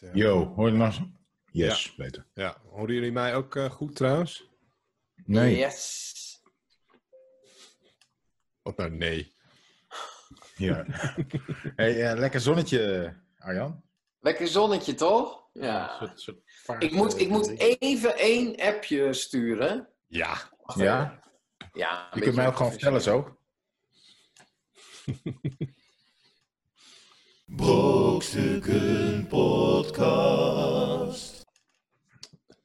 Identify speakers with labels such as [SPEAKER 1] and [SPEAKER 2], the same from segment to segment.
[SPEAKER 1] Ja.
[SPEAKER 2] Yo, hoor je langs? Yes, beter.
[SPEAKER 1] Ja, horen jullie mij ook eh, goed trouwens?
[SPEAKER 2] Nee.
[SPEAKER 3] Yes.
[SPEAKER 1] Of nou, nee.
[SPEAKER 2] Ja. hey, eh, lekker zonnetje, eh, Arjan.
[SPEAKER 3] Lekker zonnetje, toch? Ja.
[SPEAKER 1] Soort- soort vaart-
[SPEAKER 3] Ik
[SPEAKER 2] eh,
[SPEAKER 3] moet, ik moet even één appje sturen.
[SPEAKER 1] Ja.
[SPEAKER 3] Wacht even.
[SPEAKER 2] Ja?
[SPEAKER 3] ja een
[SPEAKER 2] Je kunt mij ook gewoon vertellen zo.
[SPEAKER 4] Brokstukken Podcast.
[SPEAKER 3] Oké,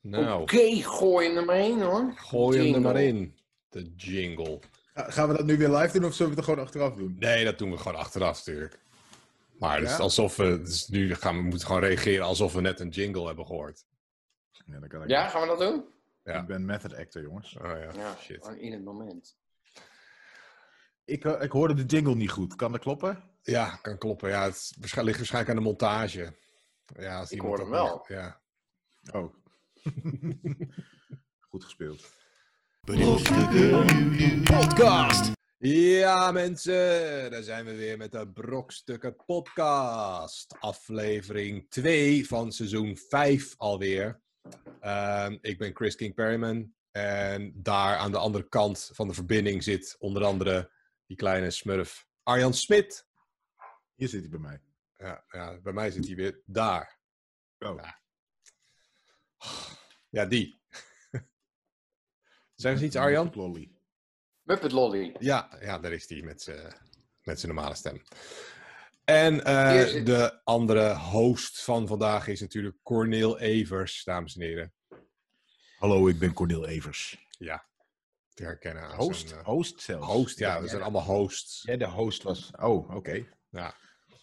[SPEAKER 1] Nou,
[SPEAKER 3] gooi hem er maar in hoor.
[SPEAKER 1] gooi hem er
[SPEAKER 3] jingle.
[SPEAKER 1] maar in. De jingle.
[SPEAKER 2] Gaan we dat nu weer live doen of zullen we het gewoon achteraf doen?
[SPEAKER 1] Nee, dat doen we gewoon achteraf natuurlijk. Maar het is
[SPEAKER 2] Ja?
[SPEAKER 1] alsof we... het is nu gaan we moeten gewoon reageren alsof we net een jingle hebben gehoord.
[SPEAKER 2] Ja, dat kan ik.
[SPEAKER 3] Ja, gaan we dat doen?
[SPEAKER 1] Ja.
[SPEAKER 2] Ik ben method actor, jongens.
[SPEAKER 1] Oh ja,
[SPEAKER 3] Ja,
[SPEAKER 1] shit.
[SPEAKER 3] gewoon in het moment.
[SPEAKER 2] Ik, eh, ik hoorde de jingle niet goed. Kan dat kloppen?
[SPEAKER 1] Ja, kan kloppen. Ja, het is waarsch- ligt waarschijnlijk aan de montage. Ja, als
[SPEAKER 3] Ik
[SPEAKER 1] iemand
[SPEAKER 3] hoor hem
[SPEAKER 1] dat niet-
[SPEAKER 3] wel.
[SPEAKER 1] Ja.
[SPEAKER 2] Oh. goed gespeeld.
[SPEAKER 4] Brokstukken Podcast.
[SPEAKER 1] Ja, mensen, daar zijn we weer met de Brokstukken Podcast. Aflevering 2 van seizoen 5 alweer. Ehm, ik ben Chris King Perryman. En daar aan de andere kant van de verbinding zit onder andere die kleine smurf Arjan Smit.
[SPEAKER 2] Hier zit hij bij mij.
[SPEAKER 1] Ja, ja, bij mij zit hij weer daar.
[SPEAKER 2] Oh.
[SPEAKER 1] Ja. Ja, die. Zeg eens iets, Arjan.
[SPEAKER 2] Lolly.
[SPEAKER 3] Muppet Lolly.
[SPEAKER 1] Ja, ja daar is hij met zijn met zijn normale stem. En eh,
[SPEAKER 3] Hier zit-
[SPEAKER 1] de andere host van vandaag is natuurlijk Corneel Evers, dames en heren.
[SPEAKER 2] Hallo, ik ben Cornel Evers.
[SPEAKER 1] Te herkennen aan
[SPEAKER 2] Host? Oh,
[SPEAKER 1] zijn, eh,
[SPEAKER 2] host zelfs.
[SPEAKER 1] host,
[SPEAKER 2] Ik
[SPEAKER 1] ja,
[SPEAKER 2] dacht
[SPEAKER 1] we
[SPEAKER 2] jij
[SPEAKER 1] zijn allemaal hosts.
[SPEAKER 2] Jij de host was. Oh, oké.
[SPEAKER 1] Ja.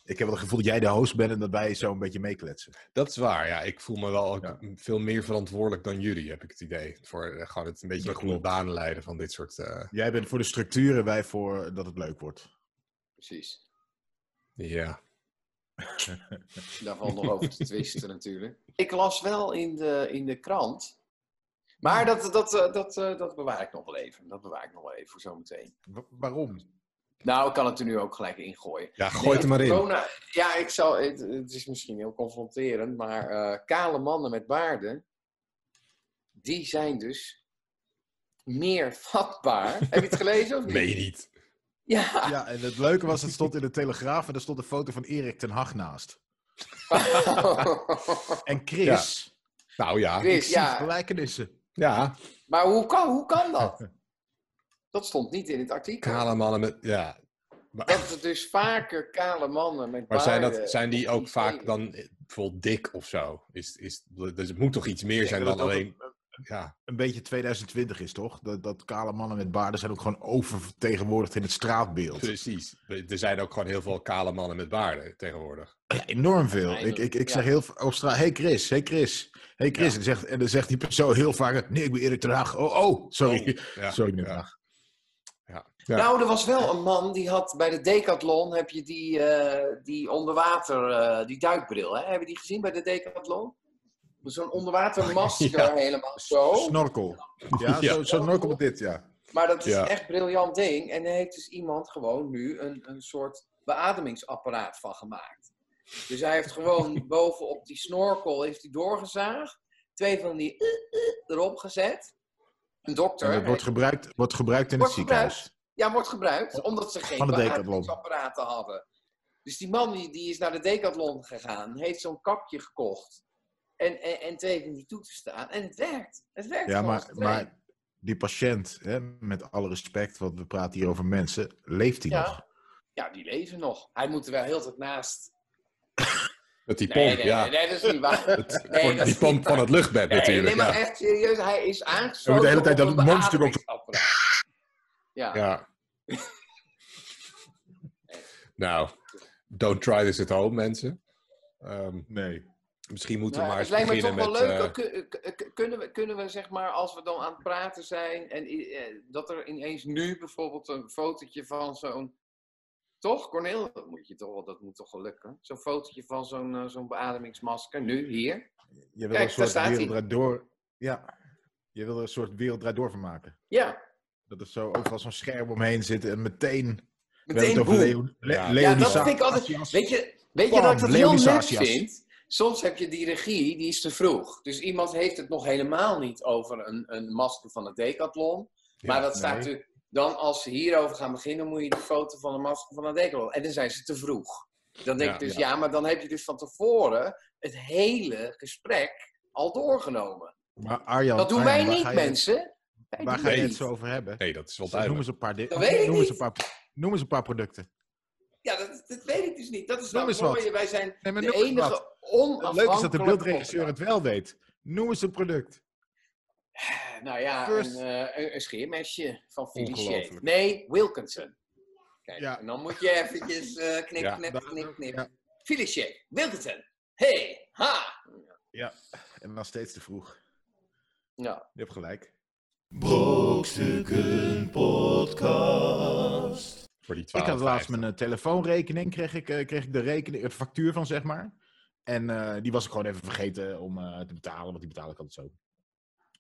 [SPEAKER 2] Ik heb wel het gevoel dat jij de host bent en dat wij zo een beetje meekletsen.
[SPEAKER 1] Dat is waar, ja. Ik voel me wel ook
[SPEAKER 2] Ja.
[SPEAKER 1] veel meer verantwoordelijk dan jullie, heb ik het idee. Voor eh, gewoon het een beetje
[SPEAKER 2] Dat
[SPEAKER 1] goede
[SPEAKER 2] klopt.
[SPEAKER 1] banen leiden van dit soort... eh,
[SPEAKER 2] Jij bent voor de structuur en wij voor dat het leuk wordt.
[SPEAKER 3] Precies.
[SPEAKER 1] ja.
[SPEAKER 3] Daar valt nog over te twisten natuurlijk. Ik las wel in de, in de krant. Maar dat, dat, eh, dat, eh, dat bewaar ik nog wel even. Dat bewaar ik nog wel even voor zometeen.
[SPEAKER 2] Wa- waarom?
[SPEAKER 3] Nou, ik kan het er nu ook gelijk ingooien.
[SPEAKER 1] ja, gooi het er maar in.
[SPEAKER 3] Corona, ja, ik zal, het, het is misschien heel confronterend, maar eh, kale mannen met baarden, die zijn dus meer vatbaar. Heb je het gelezen of niet?
[SPEAKER 1] Meen je niet.
[SPEAKER 3] Ja.
[SPEAKER 2] Ja, en het leuke was, het stond in de Telegraaf en daar stond een foto van Erik ten Hag naast. En Chris,
[SPEAKER 1] Nou ja,
[SPEAKER 2] ik
[SPEAKER 3] Chris,
[SPEAKER 2] zie
[SPEAKER 3] ja.
[SPEAKER 2] gelijkenissen.
[SPEAKER 1] ja.
[SPEAKER 3] Maar hoe kan, hoe kan dat? Dat stond niet in het artikel.
[SPEAKER 1] Kale mannen met... Ja,
[SPEAKER 3] Dat er dus vaker kale mannen met
[SPEAKER 1] Maar zijn, dat,
[SPEAKER 3] baarden
[SPEAKER 1] zijn die ook
[SPEAKER 3] niet
[SPEAKER 1] vaak
[SPEAKER 3] delen.
[SPEAKER 1] dan eh, bijvoorbeeld dik of zo? Is, is, dus het moet toch iets meer
[SPEAKER 2] Ik
[SPEAKER 1] zijn
[SPEAKER 2] denk dat het
[SPEAKER 1] dan
[SPEAKER 2] ook
[SPEAKER 1] alleen.
[SPEAKER 2] Een,
[SPEAKER 1] Ja,
[SPEAKER 2] een beetje 2020 is toch? Dat, dat kale mannen met baarden zijn ook gewoon oververtegenwoordigd in het straatbeeld.
[SPEAKER 1] precies. Er zijn ook gewoon heel veel kale mannen met baarden tegenwoordig.
[SPEAKER 2] Ja, enorm veel.
[SPEAKER 3] Ja,
[SPEAKER 2] ik, ik, ik
[SPEAKER 3] ja.
[SPEAKER 2] zeg heel veel op straat, hey Chris, hey Chris, hey Chris. En, zegt, en dan zegt die persoon heel vaak, nee, ik ben Erik ten Hag. Oh, oh, sorry.
[SPEAKER 1] Ja,
[SPEAKER 2] sorry, meneer Ten
[SPEAKER 1] ja.
[SPEAKER 2] Hag.
[SPEAKER 1] Ja.
[SPEAKER 3] Nou, er was wel een man die had bij de Decathlon heb je die, eh, die onderwater, eh, die duikbril. Hè? Hebben die gezien bij de Decathlon? Zo'n onderwatermasker
[SPEAKER 1] Ja.
[SPEAKER 3] helemaal zo.
[SPEAKER 2] Snorkel. Ja,
[SPEAKER 1] Ja.
[SPEAKER 2] Zo, zo snorkel met dit, ja.
[SPEAKER 3] Maar dat is
[SPEAKER 1] Ja.
[SPEAKER 3] echt een briljant ding. En daar heeft dus iemand gewoon nu een, een soort beademingsapparaat van gemaakt. Dus hij heeft gewoon bovenop die snorkel heeft hij doorgezaagd. Twee van die eh, eh, erop gezet. Een dokter.
[SPEAKER 2] En dat wordt
[SPEAKER 3] heeft-
[SPEAKER 2] gebruikt, wordt gebruikt in het
[SPEAKER 3] Wordt gebruikt.
[SPEAKER 2] ziekenhuis.
[SPEAKER 3] Ja, wordt gebruikt omdat ze geen
[SPEAKER 2] Van de Decathlon.
[SPEAKER 3] beademingsapparaten hadden. Dus die man die, die is naar de Decathlon gegaan, heeft zo'n kapje gekocht. En, en, en twee van die toetsen staan. En het werkt. Het werkt
[SPEAKER 2] Ja,
[SPEAKER 3] gewoon
[SPEAKER 2] maar,
[SPEAKER 3] als het werkt.
[SPEAKER 2] maar die patiënt, hè, met alle respect, want we praten hier over mensen, leeft hij
[SPEAKER 3] Ja.
[SPEAKER 2] nog?
[SPEAKER 3] ja, die leven nog. Hij moet er wel heel de tijd naast.
[SPEAKER 1] Met die pomp,
[SPEAKER 3] Nee, nee,
[SPEAKER 1] ja.
[SPEAKER 3] nee, nee, dat is niet waar.
[SPEAKER 1] Het-
[SPEAKER 3] Nee,
[SPEAKER 1] voor
[SPEAKER 3] dat
[SPEAKER 1] die
[SPEAKER 3] is
[SPEAKER 1] pomp
[SPEAKER 3] niet
[SPEAKER 1] van
[SPEAKER 3] waar.
[SPEAKER 1] het luchtbed
[SPEAKER 3] Nee,
[SPEAKER 1] natuurlijk.
[SPEAKER 3] nee, maar
[SPEAKER 1] ja.
[SPEAKER 3] echt serieus. Hij is aangesloten.
[SPEAKER 2] Hij moet de hele tijd
[SPEAKER 3] op
[SPEAKER 2] dat
[SPEAKER 3] een
[SPEAKER 2] mondstuk op-
[SPEAKER 3] beademingsapparaat. Ja,
[SPEAKER 1] Ja. Nou, don't try this at home, mensen. Ehm,
[SPEAKER 2] Nee.
[SPEAKER 1] misschien moeten
[SPEAKER 3] Nou,
[SPEAKER 1] we maar
[SPEAKER 3] het
[SPEAKER 1] eens
[SPEAKER 3] lijkt me
[SPEAKER 1] beginnen
[SPEAKER 3] toch wel
[SPEAKER 1] met...
[SPEAKER 3] leuk.
[SPEAKER 1] eh,
[SPEAKER 3] eh, kun- eh, kun- kunnen, we, kunnen we, zeg maar, als we dan aan het praten zijn. en i- eh, dat er ineens nu bijvoorbeeld een fotootje van zo'n. Toch, Corneel? Dat moet, je toch, wel- dat moet toch wel lukken? Zo'n fotootje van zo'n eh, zo'n beademingsmasker. Nu, hier.
[SPEAKER 2] Je wil
[SPEAKER 3] Kijk,
[SPEAKER 2] er een soort
[SPEAKER 3] daar staat
[SPEAKER 2] wereld
[SPEAKER 3] hij.
[SPEAKER 2] draait door. Ja. Je wil er een soort wereld draait door van maken.
[SPEAKER 3] Ja,
[SPEAKER 2] Dat er zo overal zo'n scherm omheen zit en meteen. We hebben
[SPEAKER 3] meteen
[SPEAKER 2] het over
[SPEAKER 3] boem.
[SPEAKER 2] Leon, Le-
[SPEAKER 1] Ja.
[SPEAKER 2] Leonie
[SPEAKER 3] Ja, dat
[SPEAKER 2] Sa-
[SPEAKER 3] vind ik altijd-
[SPEAKER 2] Sassias.
[SPEAKER 3] Weet je, weet je
[SPEAKER 2] Bam,
[SPEAKER 3] dat ik dat heel
[SPEAKER 2] Leonie
[SPEAKER 3] net
[SPEAKER 2] Sassias.
[SPEAKER 3] vind? soms heb je die regie, die is te vroeg. Dus iemand heeft het nog helemaal niet over een, een masker van het decathlon. maar dat staat
[SPEAKER 2] nee.
[SPEAKER 3] natuurlijk... Dan als ze hierover gaan beginnen, moet je de foto van een masker van het decathlon. En dan zijn ze te vroeg. Dan denk
[SPEAKER 1] Ja,
[SPEAKER 3] ik dus, ja, maar dan heb je dus van tevoren het hele gesprek al doorgenomen.
[SPEAKER 2] Maar Arjan,
[SPEAKER 3] Dat doen
[SPEAKER 2] Arjan,
[SPEAKER 3] wij
[SPEAKER 2] waar
[SPEAKER 3] niet,
[SPEAKER 2] ga je-
[SPEAKER 3] mensen. Wij
[SPEAKER 2] Waar
[SPEAKER 3] doen
[SPEAKER 2] ga je
[SPEAKER 3] het
[SPEAKER 2] het
[SPEAKER 3] niet.
[SPEAKER 2] zo over hebben?
[SPEAKER 1] Nee, dat is wel
[SPEAKER 2] Noem
[SPEAKER 1] duidelijk.
[SPEAKER 2] eens een paar dingen.
[SPEAKER 3] Dat weet ik
[SPEAKER 2] Noem eens
[SPEAKER 3] niet.
[SPEAKER 2] een paar, noem eens een paar producten.
[SPEAKER 3] Ja, dat, dat weet ik dus niet. Dat is
[SPEAKER 2] Noem
[SPEAKER 3] wel
[SPEAKER 2] eens
[SPEAKER 3] het
[SPEAKER 2] wat.
[SPEAKER 3] mooie. Wij zijn
[SPEAKER 2] Nee, maar
[SPEAKER 3] de
[SPEAKER 2] noem eens wat.
[SPEAKER 3] enige onafhankelijke...
[SPEAKER 2] Het leuke is dat de beeldregisseur
[SPEAKER 3] podcast.
[SPEAKER 2] het wel weet. Noem eens een product.
[SPEAKER 3] Nou ja,
[SPEAKER 2] First-
[SPEAKER 3] een, eh, een, een scheermesje van Felicia.
[SPEAKER 1] Ongelooflijk.
[SPEAKER 3] Nee, Wilkinson. Kijk,
[SPEAKER 2] Ja.
[SPEAKER 3] en dan moet je eventjes eh knip,
[SPEAKER 1] Ja.
[SPEAKER 3] knip,
[SPEAKER 2] Daar-
[SPEAKER 3] knip, knip.
[SPEAKER 2] ja.
[SPEAKER 3] Felicia, Wilkinson. Hey, ha!
[SPEAKER 2] En dan steeds te vroeg.
[SPEAKER 3] Ja.
[SPEAKER 2] Je hebt gelijk.
[SPEAKER 4] Brokstukken Podcast.
[SPEAKER 1] Voor die
[SPEAKER 2] Ik had
[SPEAKER 1] 12,50.
[SPEAKER 2] laatst mijn eh, telefoonrekening, kreeg ik, eh, kreeg ik de rekening, het factuur van, zeg maar. En eh, die was ik gewoon even vergeten om eh, te betalen, want die betaal ik altijd zo.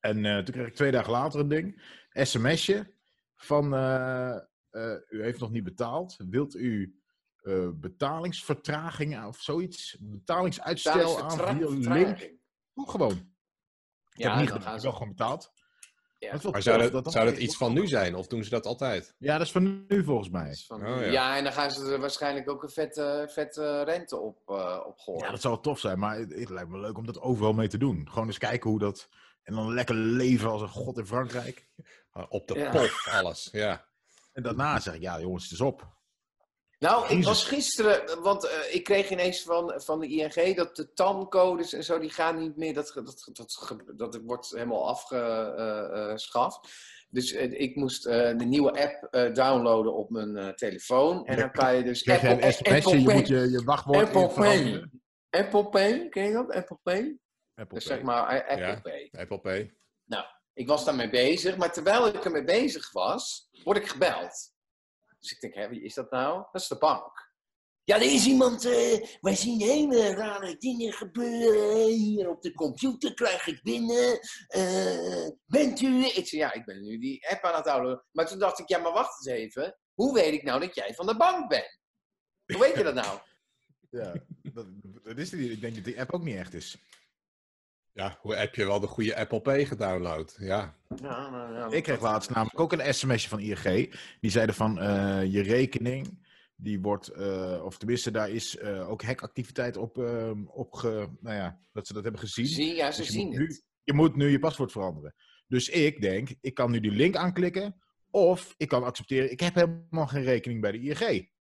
[SPEAKER 2] En eh, toen kreeg ik twee dagen later een ding, sms'je van eh, eh, u heeft nog niet betaald. Wilt u eh, betalingsvertraging aan- of zoiets, betalingsuitstel aan
[SPEAKER 3] Vertra-
[SPEAKER 2] via link?
[SPEAKER 3] vertraging.
[SPEAKER 2] Doe gewoon. Ik heb
[SPEAKER 3] Ja,
[SPEAKER 2] het niet
[SPEAKER 3] dan
[SPEAKER 2] gedaan,
[SPEAKER 3] gaan
[SPEAKER 2] ik heb
[SPEAKER 3] ze...
[SPEAKER 2] wel gewoon betaald.
[SPEAKER 3] Ja.
[SPEAKER 2] is wel
[SPEAKER 1] Maar zou
[SPEAKER 2] tof
[SPEAKER 1] dat,
[SPEAKER 2] dan
[SPEAKER 1] zou dat
[SPEAKER 2] even-
[SPEAKER 1] iets van nu zijn? Of doen ze dat altijd?
[SPEAKER 2] Ja, dat is van nu volgens mij.
[SPEAKER 3] Van,
[SPEAKER 1] Oh, ja.
[SPEAKER 3] ja. en dan gaan ze er waarschijnlijk ook een vette, vette rente op, eh op gooien.
[SPEAKER 2] Ja, dat zou wel tof zijn, maar het, het lijkt me leuk om dat overal mee te doen. Gewoon eens kijken hoe dat. En dan lekker leven als een god in Frankrijk.
[SPEAKER 1] Ah, Op de
[SPEAKER 3] Ja.
[SPEAKER 1] pop, alles. Ja.
[SPEAKER 2] En daarna zeg ik, ja jongens, het is op.
[SPEAKER 3] Nou, ik
[SPEAKER 2] Jezus.
[SPEAKER 3] was gisteren, want eh, ik kreeg ineens van, van de ING dat de TAM-codes en zo, die gaan niet meer, dat, ge- dat, ge- dat, ge- dat wordt helemaal afgeschaft. Dus eh, ik moest eh, de nieuwe app eh, downloaden op mijn eh, telefoon. En dan kan je dus
[SPEAKER 2] Krijg je
[SPEAKER 3] Apple,
[SPEAKER 2] een sms'je, je
[SPEAKER 3] Pay-
[SPEAKER 2] moet je, je wachtwoord
[SPEAKER 3] Apple Pay.
[SPEAKER 2] veranderen.
[SPEAKER 3] Apple Pay, ken je dat? Apple Pay?
[SPEAKER 2] Apple
[SPEAKER 3] Dus
[SPEAKER 2] Pay.
[SPEAKER 3] zeg maar eh, Apple
[SPEAKER 1] Ja.
[SPEAKER 3] Pay.
[SPEAKER 1] Apple Pay.
[SPEAKER 3] Ik was daarmee bezig, maar terwijl ik ermee bezig was, word ik gebeld. Dus ik denk, hè, wie is dat nou? Dat is de bank. Ja, er is iemand, eh, wij zien hele rare dingen gebeuren hier op de computer, krijg ik binnen. Eh, bent u... Ik zei, ja, ik ben nu die app aan het houden. Maar toen dacht ik, ja, maar wacht eens even. Hoe weet ik nou dat jij van de bank bent? Hoe weet je dat nou?
[SPEAKER 2] Ja, dat, dat is die, ik denk dat die app ook niet echt is.
[SPEAKER 1] Ja, hoe heb je wel de goede Apple Pay gedownload? Ja.
[SPEAKER 3] Ja, nou, ja,
[SPEAKER 2] Ik kreeg laatst namelijk ook een sms'je van ING. Die zeiden van, eh, je rekening, die wordt, eh, of tenminste daar is eh, ook hackactiviteit op, eh, op ge, nou ja, dat ze dat hebben gezien.
[SPEAKER 3] Zie, ja, ze
[SPEAKER 2] Dus je
[SPEAKER 3] zien
[SPEAKER 2] moet
[SPEAKER 3] het.
[SPEAKER 2] nu- je moet nu je paswoord veranderen. Dus ik denk, ik kan nu die link aanklikken. Of ik kan accepteren, ik heb helemaal geen rekening bij de ING.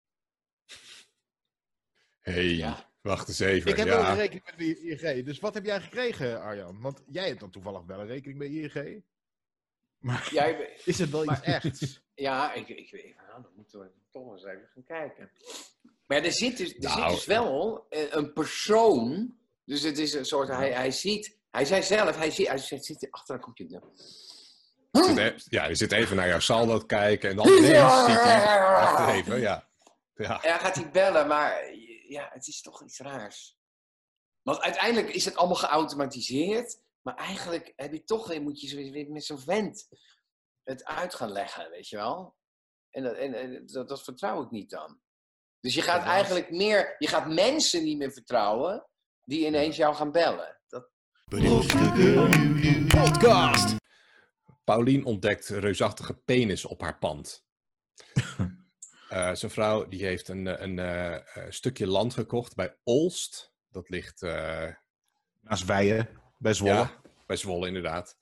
[SPEAKER 1] hey,
[SPEAKER 3] Ja.
[SPEAKER 1] wacht eens even.
[SPEAKER 2] Ik heb wel
[SPEAKER 1] ja.
[SPEAKER 2] een rekening bij de ING. Dus wat heb jij gekregen, Arjan? Want jij hebt dan toevallig wel een rekening bij ING. Maar
[SPEAKER 3] Jij,
[SPEAKER 2] is het wel iets
[SPEAKER 3] Maar-
[SPEAKER 2] echt?
[SPEAKER 3] Ja, ik, ik weet nou, dan moeten we toch eens even gaan kijken. Maar er zit dus, er
[SPEAKER 1] Nou,
[SPEAKER 3] zit dus wel eh, een persoon. Dus het is een soort, hij, hij ziet, hij zei zelf, hij, ziet, hij zit, zit achter een computer.
[SPEAKER 1] Zit e- Ja, je zit even naar jouw saldo te kijken. En dan ineens zit je... Wacht
[SPEAKER 3] En
[SPEAKER 1] even, ja. Ja,
[SPEAKER 3] dan gaat hij bellen, maar ja, het is toch iets raars. Want uiteindelijk is het allemaal geautomatiseerd. Maar eigenlijk heb je toch, weer- moet je zo weer met zo'n vent het uit gaan leggen, weet je wel. En, dat, en, en dat, dat vertrouw ik niet dan. Dus je gaat
[SPEAKER 2] Inderdaad.
[SPEAKER 3] eigenlijk meer, je gaat mensen niet meer vertrouwen die ineens jou gaan bellen. Dat,
[SPEAKER 4] Brokstukken Podcast.
[SPEAKER 1] Paulien ontdekt reusachtige penis op haar pand. Eh, zijn vrouw die heeft een, eh, een eh, eh, stukje land gekocht bij Olst. Dat ligt eh,
[SPEAKER 2] Naast Wijen, bij Zwolle.
[SPEAKER 1] Ja, bij Zwolle inderdaad.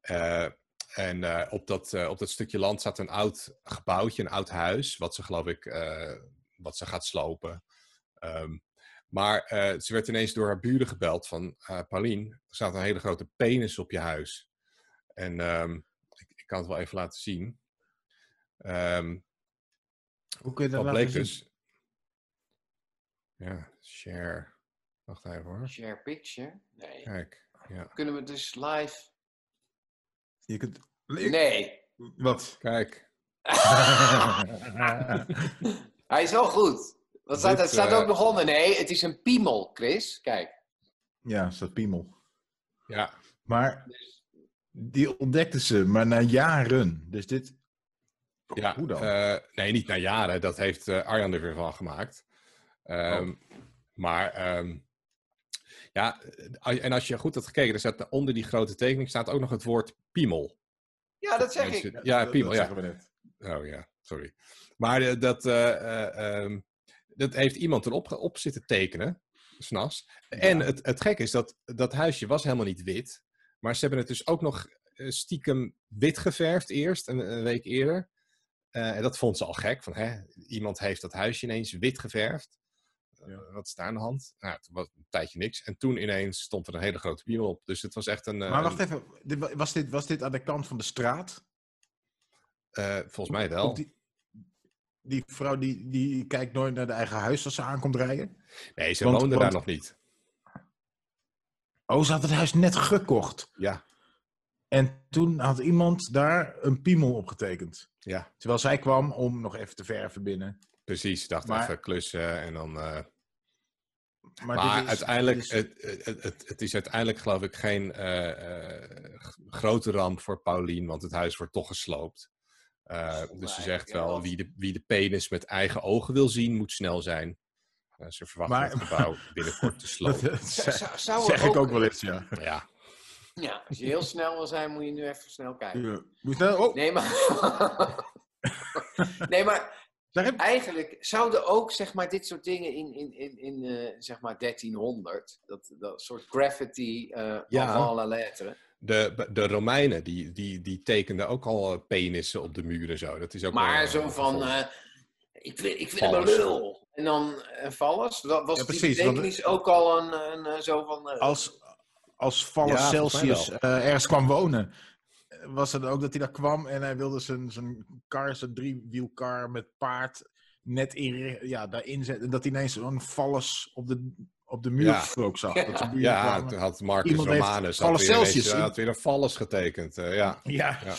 [SPEAKER 1] Eh, en eh, op, dat, eh, op dat stukje land staat een oud gebouwtje, een oud huis, wat ze geloof ik, eh, wat ze gaat slopen. Ehm, maar eh, ze werd ineens door haar buren gebeld van, eh Paulien, er staat een hele grote penis op je huis. En ehm, ik, ik kan het wel even laten zien. Ehm,
[SPEAKER 2] Hoe kun je dat
[SPEAKER 1] wat
[SPEAKER 2] laten
[SPEAKER 1] bleek
[SPEAKER 2] zien?
[SPEAKER 1] dus? Ja, share. Wacht even hoor.
[SPEAKER 3] share picture? Nee.
[SPEAKER 1] Kijk, ja.
[SPEAKER 3] Kunnen we dus live?
[SPEAKER 2] Je kunt...
[SPEAKER 3] Nee.
[SPEAKER 2] Wat?
[SPEAKER 1] Kijk.
[SPEAKER 3] Hij is wel goed. Wat staat,
[SPEAKER 1] Dit,
[SPEAKER 3] dat staat
[SPEAKER 1] eh,
[SPEAKER 3] ook nog onder. Nee, het is een piemel, Chris. Kijk.
[SPEAKER 2] ja, is dat piemel.
[SPEAKER 1] Ja, Dus-
[SPEAKER 2] Maar die ontdekten ze, maar na jaren. Dus dit.
[SPEAKER 1] Ja,
[SPEAKER 2] Hoe dan?
[SPEAKER 1] eh, nee, niet na jaren. Dat
[SPEAKER 2] Oh.
[SPEAKER 1] heeft eh, Arjan er weer van gemaakt. Ehm, Maar ehm, Ja, eh, en als je goed had gekeken, er staat onder die grote tekening staat ook nog het woord piemel.
[SPEAKER 3] Ja, dat zeg ik.
[SPEAKER 1] Mensen- Ja,
[SPEAKER 2] dat-
[SPEAKER 1] piemel,
[SPEAKER 2] dat
[SPEAKER 1] ja.
[SPEAKER 2] zeggen we net.
[SPEAKER 1] Oh ja, sorry. Maar eh, dat, eh, eh, ehm, dat heeft iemand erop ge- op zitten tekenen, s'nachts. En het, het gekke is dat dat huisje was helemaal niet wit. Maar ze hebben het dus ook nog eh, stiekem wit geverfd eerst, een, een week eerder. Eh, en dat vond ze al gek. Van, hè, iemand heeft dat huisje ineens wit geverfd.
[SPEAKER 2] Ja.
[SPEAKER 1] Eh, wat is daar aan de hand? Nou, toen was een tijdje niks. En toen ineens stond er een hele grote piemel op. Dus het was echt een... eh,
[SPEAKER 2] Maar wacht even, dit wa- was dit, was dit aan de kant van de straat?
[SPEAKER 1] eh, volgens mij wel.
[SPEAKER 2] Op Die, die vrouw die, die kijkt nooit naar de eigen huis als ze aankomt rijden.
[SPEAKER 1] Nee, ze
[SPEAKER 2] want-
[SPEAKER 1] woonde
[SPEAKER 2] want-
[SPEAKER 1] daar nog niet.
[SPEAKER 2] Oh, ze had het huis net gekocht.
[SPEAKER 1] Ja.
[SPEAKER 2] En toen had iemand daar een piemel opgetekend.
[SPEAKER 1] Ja.
[SPEAKER 2] Terwijl zij kwam om nog even te verven binnen.
[SPEAKER 1] Precies, ik dacht
[SPEAKER 2] Maar-
[SPEAKER 1] even klussen en dan. eh,
[SPEAKER 2] Maar,
[SPEAKER 1] maar
[SPEAKER 2] dit is-
[SPEAKER 1] uiteindelijk,
[SPEAKER 2] dit is-
[SPEAKER 1] het, het, het, het is uiteindelijk geloof ik geen eh, eh, g- grote ramp voor Paulien, want het huis wordt toch gesloopt. Eh,
[SPEAKER 3] Zonde
[SPEAKER 1] dus ze
[SPEAKER 3] eigenlijk,
[SPEAKER 1] zegt
[SPEAKER 3] ja,
[SPEAKER 1] wel,
[SPEAKER 3] want-
[SPEAKER 1] wie de, wie de penis met eigen ogen wil zien, moet snel zijn. Eh, ze verwachten
[SPEAKER 2] Maar-
[SPEAKER 1] het gebouw binnenkort te
[SPEAKER 2] dat,
[SPEAKER 1] slopen.
[SPEAKER 3] Z-
[SPEAKER 2] zeg,
[SPEAKER 3] z- Zou
[SPEAKER 2] zeg
[SPEAKER 3] er
[SPEAKER 2] ik ook wel eens, ja.
[SPEAKER 1] ja,
[SPEAKER 3] Ja, als je heel snel wil zijn, moet je nu even snel kijken.
[SPEAKER 2] Ja. Moet je- oh,
[SPEAKER 3] Nee, maar. nee, maar
[SPEAKER 2] daar heb
[SPEAKER 3] eigenlijk zouden ook zeg maar, dit soort dingen in, in, in, in eh, zeg maar 1300, dat, dat soort graffiti eh
[SPEAKER 1] Ja.
[SPEAKER 3] ja. alle letteren.
[SPEAKER 1] de, de Romeinen die, die, die tekenden ook al eh, penissen op de muren en zo. Dat is ook wel,
[SPEAKER 3] Maar
[SPEAKER 1] eh,
[SPEAKER 3] zo van,
[SPEAKER 1] gevolgd.
[SPEAKER 3] eh, ik wil, ik wil een
[SPEAKER 1] Vallers.
[SPEAKER 3] lul. En dan eh, vallers. Dat was
[SPEAKER 2] Ja,
[SPEAKER 3] die
[SPEAKER 2] precies, want-
[SPEAKER 3] betekenis ook al een, een, eh, zo van... eh,
[SPEAKER 2] als, als Valles
[SPEAKER 1] Ja, volgens mij
[SPEAKER 2] Celsius eh, ergens kwam wonen, eh, was het ook dat hij daar kwam en hij wilde zijn, zijn car, zijn driewielkar met paard net in, ja, daarin zetten. En dat hij ineens zo'n Valles op de, op de muur
[SPEAKER 1] Ja.
[SPEAKER 2] ook zag.
[SPEAKER 3] Ja.
[SPEAKER 2] Dat zijn buren
[SPEAKER 1] Ja,
[SPEAKER 2] kwamen.
[SPEAKER 1] toen had Marcus
[SPEAKER 2] Iemand heeft
[SPEAKER 1] Romanus had
[SPEAKER 2] Valles
[SPEAKER 1] weer, ineens-
[SPEAKER 2] Celsius in-
[SPEAKER 1] had weer een Valles getekend. eh, ja.
[SPEAKER 2] ja.
[SPEAKER 1] Ja.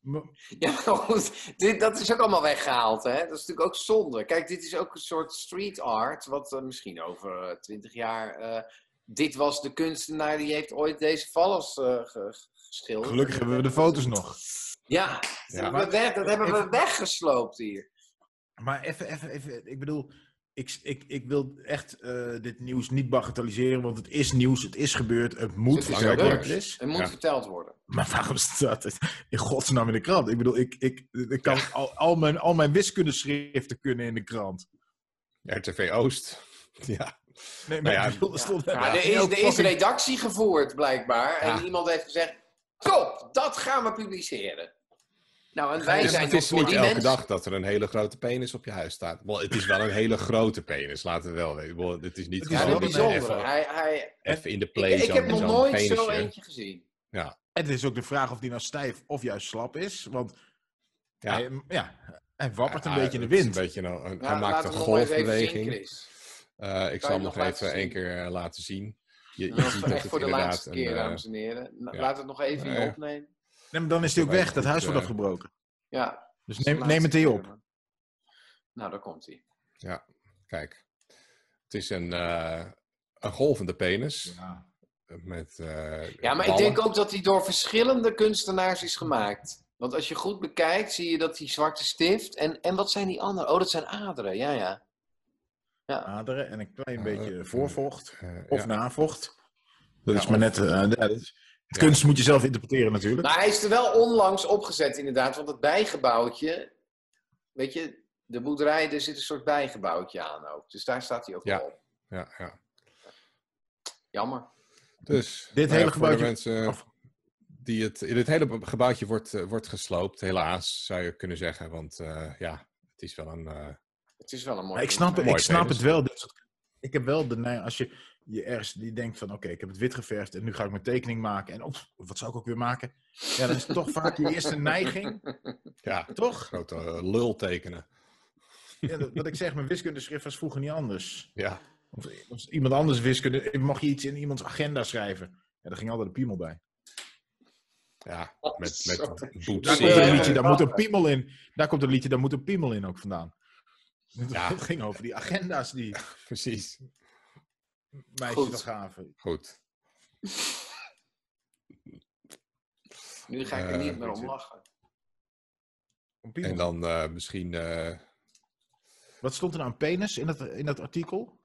[SPEAKER 2] Maar-
[SPEAKER 3] Ja, maar goed, dit, dat is ook allemaal weggehaald. Hè? Dat is natuurlijk ook zonde. Kijk, dit is ook een soort street art, wat eh, misschien over twintig jaar. eh, dit was de kunstenaar die heeft ooit deze vallers eh, ge- ge- geschilderd.
[SPEAKER 2] Gelukkig hebben we de foto's nog.
[SPEAKER 3] Ja, dat,
[SPEAKER 1] Ja.
[SPEAKER 3] hebben, we weg, dat hebben we
[SPEAKER 2] Even-
[SPEAKER 3] weggesloopt hier.
[SPEAKER 2] Maar even, even, even. Ik bedoel, ik, ik, ik wil echt eh, dit nieuws niet bagatelliseren, want het is nieuws, het is gebeurd, het moet
[SPEAKER 3] Het is
[SPEAKER 2] verteld
[SPEAKER 1] gebeurd.
[SPEAKER 2] worden.
[SPEAKER 3] Het moet
[SPEAKER 1] Ja.
[SPEAKER 3] verteld worden.
[SPEAKER 2] Maar waarom staat het in godsnaam in de krant? Ik bedoel, ik, ik, ik kan al, al, mijn, al mijn wiskundeschriften kunnen in de krant.
[SPEAKER 1] RTV Oost. Ja.
[SPEAKER 2] Nee,
[SPEAKER 1] Nou ja,
[SPEAKER 2] ik bedoel, er stond-
[SPEAKER 3] Maar er, is, er is redactie gevoerd, blijkbaar.
[SPEAKER 1] Ja.
[SPEAKER 3] En iemand heeft gezegd: top, dat gaan we publiceren. Nou, en wij
[SPEAKER 1] Dus
[SPEAKER 3] zijn
[SPEAKER 1] het
[SPEAKER 3] toch
[SPEAKER 1] is
[SPEAKER 3] voor
[SPEAKER 1] niet
[SPEAKER 3] die
[SPEAKER 1] elke
[SPEAKER 3] mensen.
[SPEAKER 1] dag dat er een hele grote penis op je huis staat. Wel, het is wel een hele grote penis, laten we wel weten. Wel, het is niet
[SPEAKER 2] Het is
[SPEAKER 3] Ja,
[SPEAKER 1] gewoon
[SPEAKER 3] dat
[SPEAKER 2] wel
[SPEAKER 3] is
[SPEAKER 1] even-
[SPEAKER 3] bijzonder. Hij, hij,
[SPEAKER 1] Even, in de play
[SPEAKER 3] Ik, ik heb
[SPEAKER 1] zo'n-
[SPEAKER 3] nog
[SPEAKER 1] zo'n
[SPEAKER 3] nooit zo
[SPEAKER 1] penisje.
[SPEAKER 3] eentje gezien.
[SPEAKER 2] Het is ook de vraag of die nou stijf of juist slap is. Want
[SPEAKER 1] Ja.
[SPEAKER 2] hij, ja, hij wappert een
[SPEAKER 1] Ja,
[SPEAKER 2] beetje in
[SPEAKER 1] het
[SPEAKER 2] de
[SPEAKER 1] is
[SPEAKER 2] wind.
[SPEAKER 1] Een beetje een, een-
[SPEAKER 3] Ja,
[SPEAKER 1] hij
[SPEAKER 3] Nou, laat
[SPEAKER 1] maakt een
[SPEAKER 3] hem nog maar even zien,
[SPEAKER 1] golfbeweging.
[SPEAKER 3] Chris.
[SPEAKER 1] Eh, ik
[SPEAKER 3] Kan
[SPEAKER 1] zal
[SPEAKER 3] je
[SPEAKER 1] hem nog
[SPEAKER 3] nog
[SPEAKER 1] even
[SPEAKER 3] laten
[SPEAKER 1] één
[SPEAKER 3] zien?
[SPEAKER 1] keer eh, laten zien. Je, je
[SPEAKER 3] Dat is
[SPEAKER 1] ziet
[SPEAKER 3] toch
[SPEAKER 1] dat
[SPEAKER 3] echt
[SPEAKER 1] het
[SPEAKER 3] voor de
[SPEAKER 1] inderdaad
[SPEAKER 3] laatste
[SPEAKER 1] een...
[SPEAKER 3] keer,
[SPEAKER 1] eh,
[SPEAKER 3] dames en heren. Nou,
[SPEAKER 1] ja.
[SPEAKER 3] Laat het nog even
[SPEAKER 1] Ja,
[SPEAKER 3] hier
[SPEAKER 1] ja.
[SPEAKER 3] opnemen.
[SPEAKER 2] Nee, maar dan is hij ook
[SPEAKER 1] Even
[SPEAKER 2] weg. Dat
[SPEAKER 1] goed,
[SPEAKER 2] huis wordt
[SPEAKER 1] eh,
[SPEAKER 2] afgebroken.
[SPEAKER 3] Ja,
[SPEAKER 2] Dus
[SPEAKER 3] dat is de
[SPEAKER 2] neem, neem het
[SPEAKER 3] laatste
[SPEAKER 2] hier
[SPEAKER 3] keer
[SPEAKER 2] op.
[SPEAKER 3] dan. Nou, daar komt hij.
[SPEAKER 1] kijk, het is een, eh, een golvende penis.
[SPEAKER 2] Ja.
[SPEAKER 1] Met, eh,
[SPEAKER 3] Ja, maar ik
[SPEAKER 1] ballen.
[SPEAKER 3] denk ook dat hij door verschillende kunstenaars is gemaakt. Want als je goed bekijkt, zie je dat die zwarte stift. En, en wat zijn die anderen? Oh, dat zijn aderen. Ja, ja.
[SPEAKER 2] Aderen en een klein
[SPEAKER 1] Ja,
[SPEAKER 2] beetje
[SPEAKER 1] eh,
[SPEAKER 2] voorvocht
[SPEAKER 1] Eh,
[SPEAKER 2] of
[SPEAKER 1] ja.
[SPEAKER 2] navocht. Dat
[SPEAKER 1] Ja,
[SPEAKER 2] is maar net...
[SPEAKER 1] of-
[SPEAKER 2] eh, ja, dat is- het
[SPEAKER 1] Ja.
[SPEAKER 2] kunst moet je zelf interpreteren natuurlijk.
[SPEAKER 3] Maar hij is er wel onlangs opgezet, inderdaad. Want het bijgebouwtje. Weet je, de boerderij, er zit een soort bijgebouwtje aan ook. Dus daar staat hij ook
[SPEAKER 1] Ja.
[SPEAKER 3] wel op.
[SPEAKER 1] Ja, ja.
[SPEAKER 3] Jammer.
[SPEAKER 1] Dus
[SPEAKER 2] Dit
[SPEAKER 1] nou
[SPEAKER 2] hele
[SPEAKER 1] ja, voor de
[SPEAKER 2] gebouwtje-
[SPEAKER 1] mensen
[SPEAKER 2] Of-
[SPEAKER 1] die het in het hele gebouwtje wordt, eh, wordt gesloopt, helaas zou je kunnen zeggen, want eh, ja, het is wel een. eh,
[SPEAKER 3] Het is wel een mooi.
[SPEAKER 2] Maar ik snap, het-
[SPEAKER 1] Mooi
[SPEAKER 2] ik snap
[SPEAKER 1] penis.
[SPEAKER 2] het wel. dit soort- Ik heb wel de neiging, als je, je ergens die denkt van, oké, ik heb het wit geverfd en nu ga ik mijn tekening maken. En op, wat zou ik ook weer maken? Ja, dan is het toch vaak je eerste neiging,
[SPEAKER 1] ja,
[SPEAKER 2] toch?
[SPEAKER 1] grote eh, lul tekenen.
[SPEAKER 2] Ja, dat- wat ik zeg, mijn wiskundeschrift was vroeger niet anders.
[SPEAKER 1] Ja,
[SPEAKER 2] Of, als iemand anders wiskunde, mag je iets in iemands agenda schrijven. Ja, daar ging altijd een piemel bij.
[SPEAKER 1] ja
[SPEAKER 3] Oh,
[SPEAKER 1] met,
[SPEAKER 3] zo.
[SPEAKER 1] met
[SPEAKER 2] Daar
[SPEAKER 1] boetsen.
[SPEAKER 2] komt een
[SPEAKER 3] Ja.
[SPEAKER 2] liedje, daar moet een piemel in. Daar komt een liedje, daar moet een piemel in ook vandaan.
[SPEAKER 1] Ja.
[SPEAKER 2] Dat ging over die agenda's die
[SPEAKER 1] Precies.
[SPEAKER 2] meisjes
[SPEAKER 3] Goed.
[SPEAKER 2] nog gaven.
[SPEAKER 1] Goed.
[SPEAKER 3] Nu ga ik er
[SPEAKER 1] Eh,
[SPEAKER 3] niet meer om
[SPEAKER 1] goed.
[SPEAKER 3] lachen.
[SPEAKER 2] Een piemel.
[SPEAKER 1] En dan eh, misschien eh,
[SPEAKER 2] Wat stond er nou een penis in dat, in dat artikel?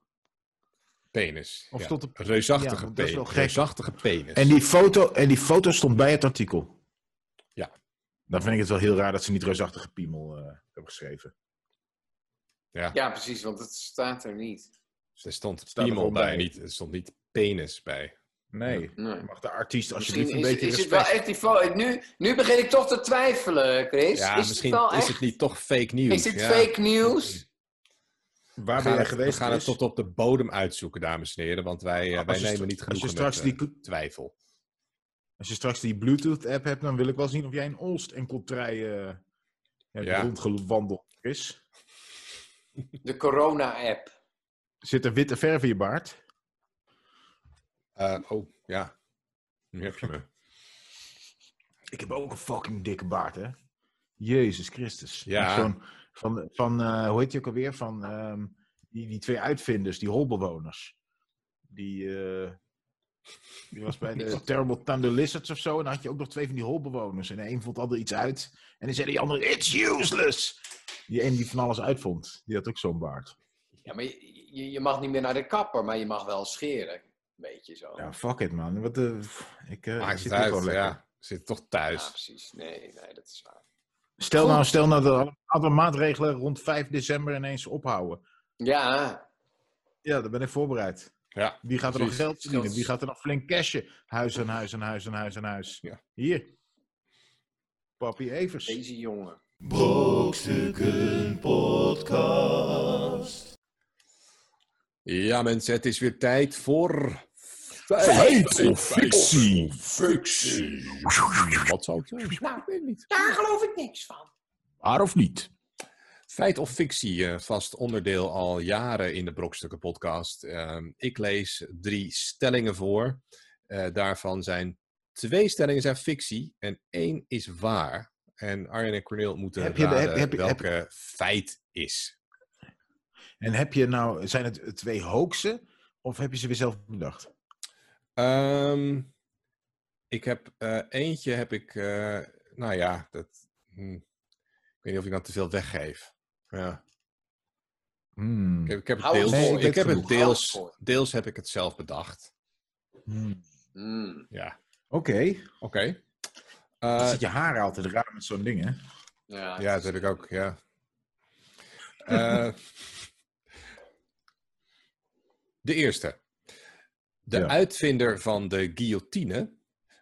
[SPEAKER 1] Penis.
[SPEAKER 2] Of
[SPEAKER 1] ja.
[SPEAKER 2] tot de-
[SPEAKER 1] reusachtige
[SPEAKER 2] ja, want dat is
[SPEAKER 1] penis.
[SPEAKER 2] wel gek.
[SPEAKER 1] Reusachtige penis.
[SPEAKER 2] En die, foto, en die foto stond bij het artikel.
[SPEAKER 1] Ja.
[SPEAKER 2] Dan vind ik het wel heel raar dat ze niet reusachtige piemel eh, hebben geschreven.
[SPEAKER 1] Ja,
[SPEAKER 3] Ja, precies, want het staat er niet.
[SPEAKER 1] Dus er stond
[SPEAKER 2] Staat er
[SPEAKER 1] piemel
[SPEAKER 2] gewoon
[SPEAKER 1] bij,
[SPEAKER 2] bij.
[SPEAKER 1] Niet, er stond niet penis bij.
[SPEAKER 2] Nee.
[SPEAKER 3] Nee.
[SPEAKER 2] Mag de artiest alsjeblieft
[SPEAKER 3] Misschien
[SPEAKER 2] een
[SPEAKER 3] is,
[SPEAKER 2] beetje
[SPEAKER 3] is het wel
[SPEAKER 2] respect-
[SPEAKER 3] echt die foto. Nu, nu begin ik toch te twijfelen, Chris.
[SPEAKER 1] Ja,
[SPEAKER 3] is
[SPEAKER 1] misschien
[SPEAKER 3] het wel
[SPEAKER 1] is
[SPEAKER 3] echt?
[SPEAKER 1] het niet toch fake nieuws.
[SPEAKER 3] Is dit
[SPEAKER 1] ja.
[SPEAKER 3] fake nieuws?
[SPEAKER 1] We
[SPEAKER 2] Waar ben
[SPEAKER 1] gaan,
[SPEAKER 2] jij
[SPEAKER 1] het, we
[SPEAKER 2] geweest?
[SPEAKER 1] gaan het
[SPEAKER 2] Chris?
[SPEAKER 1] tot op de bodem uitzoeken, dames en heren. Want wij, eh,
[SPEAKER 2] Als
[SPEAKER 1] wij
[SPEAKER 2] je stra-
[SPEAKER 1] nemen niet genoeg
[SPEAKER 2] Als je straks die,
[SPEAKER 1] twijfel.
[SPEAKER 2] als je straks die Bluetooth-app hebt, dan wil ik wel zien of jij een Olst en Coltrij eh, hebt
[SPEAKER 1] Ja.
[SPEAKER 2] rondgewandeld, Chris.
[SPEAKER 3] De corona-app.
[SPEAKER 2] Zit er witte verf in je baard?
[SPEAKER 1] Eh, oh, ja. Nu heb je me.
[SPEAKER 2] Ik heb ook een fucking dikke baard, hè? Jezus Christus.
[SPEAKER 1] Ja.
[SPEAKER 2] Zo'n- van, van eh, hoe heet die ook alweer? Van ehm, die, die twee uitvinders, die holbewoners. Die, eh, die was bij de Terrible Thunder Lizards of zo. En dan had je ook nog twee van die holbewoners. En de een vond altijd iets uit. En dan zei die andere, it's useless! Die ene die van alles uitvond, die had ook zo'n baard.
[SPEAKER 3] Ja, maar je, je- je mag niet meer naar de kapper, maar je mag wel scheren. Beetje zo.
[SPEAKER 2] Ja, fuck it, man. Wat, eh, ik, eh, ik
[SPEAKER 1] Maakt
[SPEAKER 2] zit
[SPEAKER 1] het
[SPEAKER 2] toch
[SPEAKER 1] uit,
[SPEAKER 2] wel lekker.
[SPEAKER 1] ja. Zit toch thuis.
[SPEAKER 3] Ja, precies. Nee, nee, dat is waar.
[SPEAKER 2] Stel nou, stel nou dat alle- alle maatregelen rond 5 december ineens ophouden.
[SPEAKER 3] Ja,
[SPEAKER 2] Ja, daar ben ik voorbereid.
[SPEAKER 1] Ja.
[SPEAKER 2] Wie gaat er
[SPEAKER 1] Precies.
[SPEAKER 2] nog geld verdienen? Wie gaat er nog flink cashen? Huis aan huis aan huis aan huis aan huis.
[SPEAKER 1] Ja.
[SPEAKER 2] Hier. Papi Evers.
[SPEAKER 3] deze jongen.
[SPEAKER 4] Brokstukken Podcast.
[SPEAKER 1] Ja, mensen, het is weer tijd voor. Feit, of fictie? Fictie. Wat zou het zijn?
[SPEAKER 3] Nou, daar geloof ik niks van.
[SPEAKER 2] Waar of niet?
[SPEAKER 1] Feit of fictie, eh, vast onderdeel al jaren in de Brokstukken podcast. Ehm, ik lees drie stellingen voor. Eh, daarvan zijn twee stellingen zijn fictie en één is waar. En Arjen en Corneel moeten
[SPEAKER 2] Heb
[SPEAKER 1] heb
[SPEAKER 2] je de-
[SPEAKER 1] raden
[SPEAKER 2] heb- heb- heb-
[SPEAKER 1] welke feit is.
[SPEAKER 2] En heb je nou, zijn het twee hoaxen? Of heb je ze weer zelf bedacht?
[SPEAKER 1] Ehm, ik heb eh, eentje heb ik, eh, nou ja, dat, hm, ik weet niet of ik dan te veel weggeef. Ja.
[SPEAKER 2] Hmm.
[SPEAKER 1] Ik heb, ik heb het
[SPEAKER 3] Hou het
[SPEAKER 1] deels,
[SPEAKER 2] vol.
[SPEAKER 1] ik
[SPEAKER 2] Nee,
[SPEAKER 1] heb het
[SPEAKER 2] genoeg.
[SPEAKER 3] Hou het
[SPEAKER 1] deels,
[SPEAKER 3] vol.
[SPEAKER 1] deels heb ik het zelf bedacht.
[SPEAKER 2] Hmm.
[SPEAKER 3] Hmm.
[SPEAKER 1] Ja,
[SPEAKER 2] Oké.
[SPEAKER 1] oké. Eh,
[SPEAKER 2] Dan zit je haar altijd raar met zo'n ding, hè?
[SPEAKER 3] Ja,
[SPEAKER 1] ja, dat heb ik ook, ja. Eh, de eerste. De
[SPEAKER 2] Ja.
[SPEAKER 1] uitvinder van de guillotine,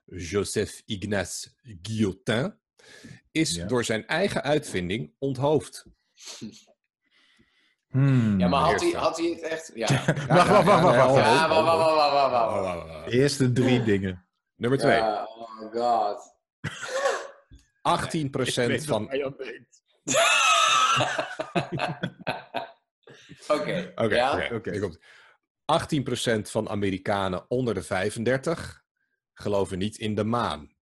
[SPEAKER 1] Joseph Ignace Guillotin, is
[SPEAKER 2] Ja.
[SPEAKER 1] door zijn eigen uitvinding onthoofd.
[SPEAKER 2] Hmm.
[SPEAKER 3] Ja, maar had hij,
[SPEAKER 1] Eerste.
[SPEAKER 3] had hij het echt... Ja,
[SPEAKER 2] Wacht, wacht, wacht, wacht, wacht,
[SPEAKER 1] Oh,
[SPEAKER 2] wacht.
[SPEAKER 3] ja wacht, wacht, wacht, wacht, wacht, wacht.
[SPEAKER 2] De Eerste drie dingen.
[SPEAKER 1] Nummer twee.
[SPEAKER 3] Ja, oh god.
[SPEAKER 1] 18% van... Oké,
[SPEAKER 2] Oké.
[SPEAKER 3] Oké, ja?
[SPEAKER 1] oké,
[SPEAKER 2] Oké.
[SPEAKER 1] hier komt het. 18% van Amerikanen onder de 35 geloven niet in de maan.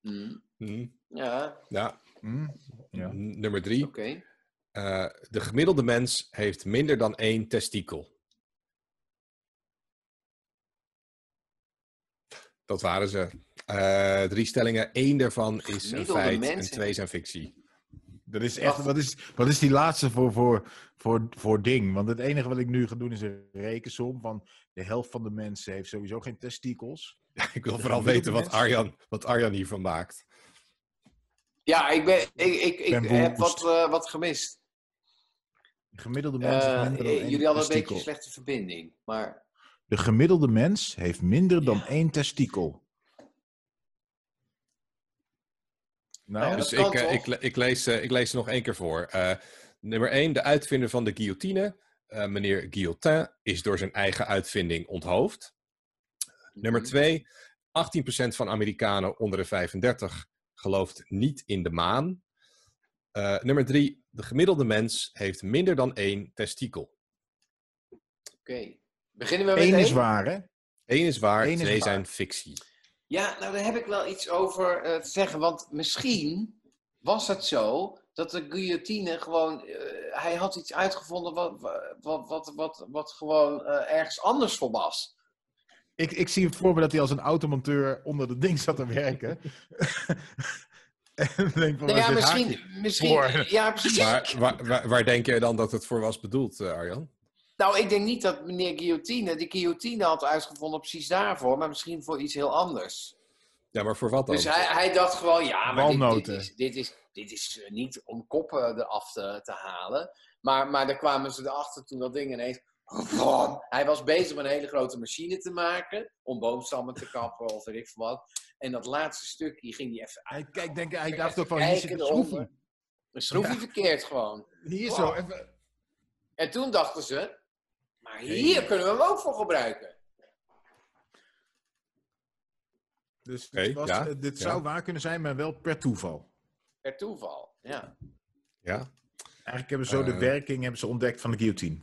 [SPEAKER 3] Hmm.
[SPEAKER 1] Hm,
[SPEAKER 3] Ja,
[SPEAKER 1] Ja,
[SPEAKER 2] Hmm. Ja.
[SPEAKER 1] N- nummer drie.
[SPEAKER 3] oké.
[SPEAKER 1] Eh, de gemiddelde mens heeft minder dan één testikel. Dat waren ze. Eh, drie stellingen. Eén daarvan is een
[SPEAKER 3] Gemiddelde
[SPEAKER 1] feit en
[SPEAKER 3] mens-
[SPEAKER 1] twee zijn fictie.
[SPEAKER 2] Dat is echt, wat is, wat is die laatste voor, voor, voor, voor ding? Want het enige wat ik nu ga doen is een rekensom van de helft van de mensen heeft sowieso geen testikels.
[SPEAKER 1] Ik wil
[SPEAKER 2] De
[SPEAKER 1] vooral
[SPEAKER 2] gemiddelde
[SPEAKER 1] weten wat
[SPEAKER 2] mens?
[SPEAKER 1] Arjan, wat Arjan hiervan maakt.
[SPEAKER 3] Ja, ik, ben, ik, ik, ik
[SPEAKER 2] Ben
[SPEAKER 3] heb
[SPEAKER 2] behoest.
[SPEAKER 3] wat, eh, wat gemist.
[SPEAKER 2] De gemiddelde
[SPEAKER 3] Eh,
[SPEAKER 2] mens heeft minder dan één
[SPEAKER 3] jullie hadden een beetje
[SPEAKER 2] testikel.
[SPEAKER 3] een slechte verbinding. Maar
[SPEAKER 2] De gemiddelde mens heeft minder dan één testikel. Nou,
[SPEAKER 3] Nou Ja,
[SPEAKER 1] dus
[SPEAKER 3] dat
[SPEAKER 1] ik,
[SPEAKER 3] kan
[SPEAKER 1] eh,
[SPEAKER 3] toch?
[SPEAKER 1] ik, le- ik, lees, eh, ik lees er nog één keer voor. Eh, nummer één, de uitvinder van de guillotine, eh, meneer Guillotin, is door zijn eigen uitvinding onthoofd.
[SPEAKER 3] Mm,
[SPEAKER 1] Nummer twee, 18% van Amerikanen onder de 35 gelooft niet in de maan. Eh, nummer drie, de gemiddelde mens heeft minder dan één testikel.
[SPEAKER 3] Oké. Beginnen we met
[SPEAKER 2] één
[SPEAKER 3] één?
[SPEAKER 2] is waar, hè?
[SPEAKER 1] Eén is waar,
[SPEAKER 2] Eén is
[SPEAKER 1] twee
[SPEAKER 2] waar.
[SPEAKER 1] zijn fictie.
[SPEAKER 3] Ja, nou daar heb ik wel iets over eh, te zeggen. Want misschien was het zo dat de guillotine gewoon... eh, hij had iets uitgevonden wat, wat, wat, wat, wat gewoon eh, ergens anders voor was.
[SPEAKER 2] Ik, ik zie voor me dat hij als een automonteur onder de ding zat te werken. en denk van,
[SPEAKER 3] Nou
[SPEAKER 2] waar
[SPEAKER 3] ja,
[SPEAKER 2] zit
[SPEAKER 3] misschien...
[SPEAKER 2] haakje?
[SPEAKER 3] misschien
[SPEAKER 2] voor?
[SPEAKER 3] ja, precies.
[SPEAKER 1] Maar waar, waar, waar denk jij dan dat het voor was bedoeld, eh, Arjan?
[SPEAKER 3] Nou, ik denk niet dat meneer Guillotine de guillotine had uitgevonden precies daarvoor, maar misschien voor iets heel anders.
[SPEAKER 1] Ja, maar voor wat dan?
[SPEAKER 3] Dus hij, hij dacht gewoon, ja, maar dit- dit,
[SPEAKER 2] Walnoten.
[SPEAKER 3] is, dit, is, dit is eh, niet om koppen eraf te, te halen. Maar, maar daar kwamen ze erachter toen dat ding ineens... Vroom. Hij was bezig met een hele grote machine te maken, om boomstammen te kappen of weet ik veel wat. En dat laatste stukje ging hij even
[SPEAKER 2] Hij,
[SPEAKER 3] uit.
[SPEAKER 2] kijk, denk, hij
[SPEAKER 3] Even
[SPEAKER 2] dacht ook van, hier
[SPEAKER 3] kijken
[SPEAKER 2] zit een
[SPEAKER 3] eronder.
[SPEAKER 2] schroefje.
[SPEAKER 3] Een schroefje verkeerd gewoon.
[SPEAKER 2] Hier
[SPEAKER 3] Wow.
[SPEAKER 2] zo, even...
[SPEAKER 3] En toen dachten ze, maar hier
[SPEAKER 2] Jeetje.
[SPEAKER 3] kunnen we hem ook voor gebruiken.
[SPEAKER 2] Dus
[SPEAKER 1] Oké,
[SPEAKER 2] dit, was,
[SPEAKER 1] ja,
[SPEAKER 2] eh, dit
[SPEAKER 1] ja.
[SPEAKER 2] zou waar kunnen zijn, maar wel per toeval.
[SPEAKER 3] Per toeval, ja.
[SPEAKER 1] Ja,
[SPEAKER 2] Eigenlijk hebben ze zo de
[SPEAKER 1] Eh. oh,
[SPEAKER 2] werking hebben ze ontdekt van de guillotine.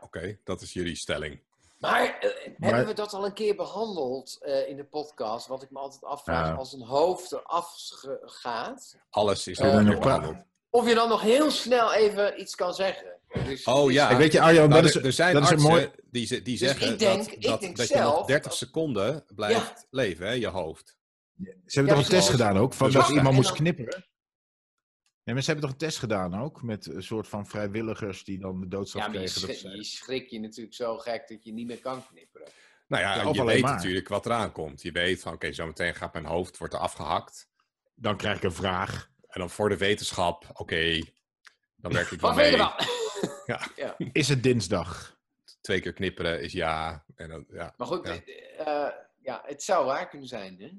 [SPEAKER 1] oké, dat is jullie stelling.
[SPEAKER 3] Maar, eh,
[SPEAKER 2] Maar-
[SPEAKER 3] hebben we dat al een keer behandeld eh, in de podcast? Wat ik me altijd afvraag,
[SPEAKER 2] Ja.
[SPEAKER 3] als een hoofd eraf ge- gaat,
[SPEAKER 1] Alles is
[SPEAKER 3] Eh,
[SPEAKER 1] al een keer
[SPEAKER 2] nog maar-
[SPEAKER 1] behandeld.
[SPEAKER 3] of je dan nog heel snel even iets kan zeggen. Dus,
[SPEAKER 1] Oh ja,
[SPEAKER 2] Ik weet je, Arjan,
[SPEAKER 1] Nou,
[SPEAKER 2] dat
[SPEAKER 1] er,
[SPEAKER 2] is...
[SPEAKER 1] er zijn
[SPEAKER 2] dat is een
[SPEAKER 1] artsen
[SPEAKER 2] mooi-
[SPEAKER 1] die, ze- die
[SPEAKER 3] Dus
[SPEAKER 1] zeggen
[SPEAKER 3] ik denk-
[SPEAKER 1] dat,
[SPEAKER 3] ik
[SPEAKER 1] dat,
[SPEAKER 3] denk
[SPEAKER 1] dat je nog
[SPEAKER 3] zelf-
[SPEAKER 1] 30 seconden blijft leven, hè, je hoofd.
[SPEAKER 2] Ze hebben
[SPEAKER 3] Ja,
[SPEAKER 2] toch een test
[SPEAKER 3] precies.
[SPEAKER 2] gedaan ook, van
[SPEAKER 1] Dus
[SPEAKER 2] dat
[SPEAKER 1] wacht,
[SPEAKER 2] iemand
[SPEAKER 3] en
[SPEAKER 2] moest
[SPEAKER 3] dan-
[SPEAKER 2] knipperen. Nee, maar ze hebben toch een test gedaan ook, met een soort van vrijwilligers die dan de doodstraf
[SPEAKER 3] Ja, maar je
[SPEAKER 2] kregen. dat
[SPEAKER 3] schrik,
[SPEAKER 2] ze-
[SPEAKER 3] je schrik je natuurlijk zo gek dat je niet meer kan knipperen.
[SPEAKER 1] Nou ja,
[SPEAKER 2] Ja,
[SPEAKER 1] en
[SPEAKER 2] of
[SPEAKER 1] je
[SPEAKER 2] alleen
[SPEAKER 1] weet
[SPEAKER 2] maar.
[SPEAKER 1] natuurlijk wat eraan komt. Je weet van, oké, zometeen gaat mijn hoofd, wordt er afgehakt.
[SPEAKER 2] Dan krijg ik een vraag.
[SPEAKER 1] En dan voor de wetenschap, oké, dan werk ik wel
[SPEAKER 3] Wat vind je
[SPEAKER 1] mee.
[SPEAKER 3] ervan?
[SPEAKER 2] Is het dinsdag?
[SPEAKER 1] Twee keer knipperen is ja. En dan, ja.
[SPEAKER 3] Maar goed,
[SPEAKER 1] Ja.
[SPEAKER 3] eh, eh, ja, het zou waar kunnen zijn, hè?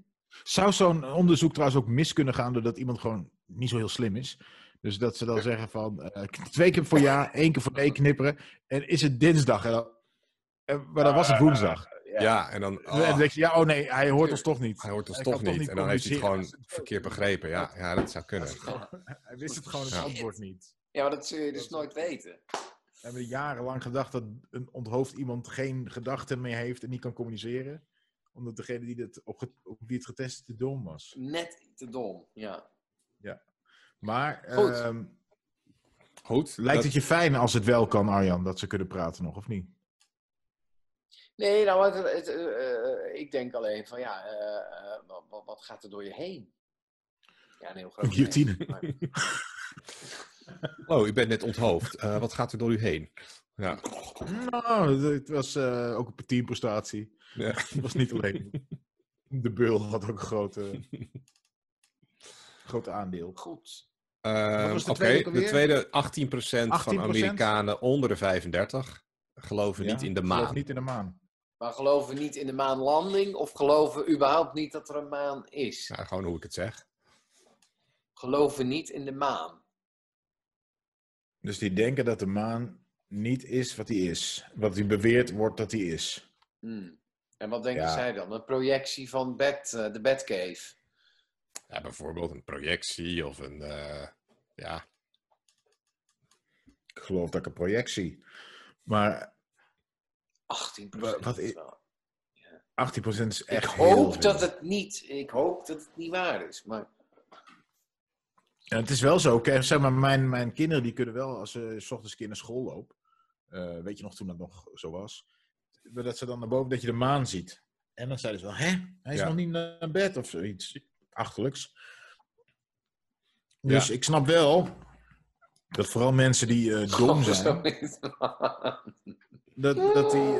[SPEAKER 2] Zou zo'n onderzoek trouwens ook mis kunnen gaan doordat iemand gewoon niet zo heel slim is? Dus dat ze dan zeggen van eh, twee keer voor ja, één keer voor nee knipperen. En is het dinsdag? En dan, en- maar dan was het woensdag.
[SPEAKER 1] Ja. en dan,
[SPEAKER 2] En dan
[SPEAKER 1] ah,
[SPEAKER 2] denk je, ja, oh nee, hij hoort ons toch niet.
[SPEAKER 1] hij hoort ons
[SPEAKER 2] Hij
[SPEAKER 1] toch
[SPEAKER 2] kan toch
[SPEAKER 1] niet.
[SPEAKER 2] niet
[SPEAKER 1] En dan heeft hij het gewoon
[SPEAKER 2] communiceren.
[SPEAKER 1] verkeerd begrepen. Ja, ja, dat zou kunnen.
[SPEAKER 2] Hij wist het gewoon het
[SPEAKER 1] Ja.
[SPEAKER 2] antwoord niet.
[SPEAKER 3] Ja, maar dat zul je dus nooit weten.
[SPEAKER 2] We hebben jarenlang gedacht dat een onthoofd iemand geen gedachten meer heeft en niet kan communiceren. Omdat degene die, het op, ge- op wie het getest is, te dom was.
[SPEAKER 3] Net te dom, ja.
[SPEAKER 2] Maar
[SPEAKER 3] Goed.
[SPEAKER 2] ehm,
[SPEAKER 1] Goed.
[SPEAKER 2] lijkt
[SPEAKER 1] dat-
[SPEAKER 2] het je fijn als het wel kan, Arjan, dat ze kunnen praten nog, of niet?
[SPEAKER 3] Nee, nou, het, het, eh, eh, ik denk alleen van ja, eh, eh, wat, wat, wat gaat er door je heen? Ja, een heel groot.
[SPEAKER 2] Een guillotine.
[SPEAKER 3] nee, maar-
[SPEAKER 1] Oh, u bent net onthoofd. Eh, wat gaat er door u heen? Ja.
[SPEAKER 2] Nou, het was eh, ook een teamprestatie.
[SPEAKER 1] Ja.
[SPEAKER 2] Het was niet alleen. De beul had ook een grote, groot aandeel.
[SPEAKER 3] Goed.
[SPEAKER 1] Ehm,
[SPEAKER 2] was de
[SPEAKER 1] Oké,
[SPEAKER 2] tweede ook
[SPEAKER 1] de
[SPEAKER 2] alweer?
[SPEAKER 1] tweede 18%, van
[SPEAKER 2] 18%?
[SPEAKER 1] Amerikanen onder de 35 geloven
[SPEAKER 2] Ja,
[SPEAKER 1] niet in de
[SPEAKER 2] geloof
[SPEAKER 1] maan.
[SPEAKER 2] Niet in de maan.
[SPEAKER 3] Maar geloven niet in de maanlanding of geloven überhaupt niet dat er een maan is?
[SPEAKER 1] Ja, gewoon hoe ik het zeg.
[SPEAKER 3] Geloven niet in de maan.
[SPEAKER 2] Dus die denken dat de maan niet is wat die is. Wat die beweerd wordt dat die is.
[SPEAKER 3] Hmm. En wat denken
[SPEAKER 2] Ja.
[SPEAKER 3] zij dan? Een projectie van bed, eh, de Batcave.
[SPEAKER 1] Ja, bijvoorbeeld een projectie of een. eh, ja.
[SPEAKER 2] Ik geloof dat ik een projectie. Maar
[SPEAKER 3] 18
[SPEAKER 2] Wa- wat i-
[SPEAKER 3] wel.
[SPEAKER 2] 18% is echt
[SPEAKER 3] Ik
[SPEAKER 2] heel
[SPEAKER 3] hoop
[SPEAKER 2] veel.
[SPEAKER 3] dat het niet, ik hoop dat het niet waar is. Maar
[SPEAKER 2] Ja, het is wel zo. Kijk, zeg maar, mijn, mijn kinderen die kunnen wel, als ze 's ochtends een keer naar school lopen. eh, weet je nog toen dat nog zo was? Dat ze dan naar boven dat je de maan ziet. En dan zeiden ze wel, hè? Hij is
[SPEAKER 1] Ja.
[SPEAKER 2] nog niet naar bed of zoiets. Achterlijks. Dus ik snap wel dat vooral mensen die eh, dom zijn. Dat, dat die.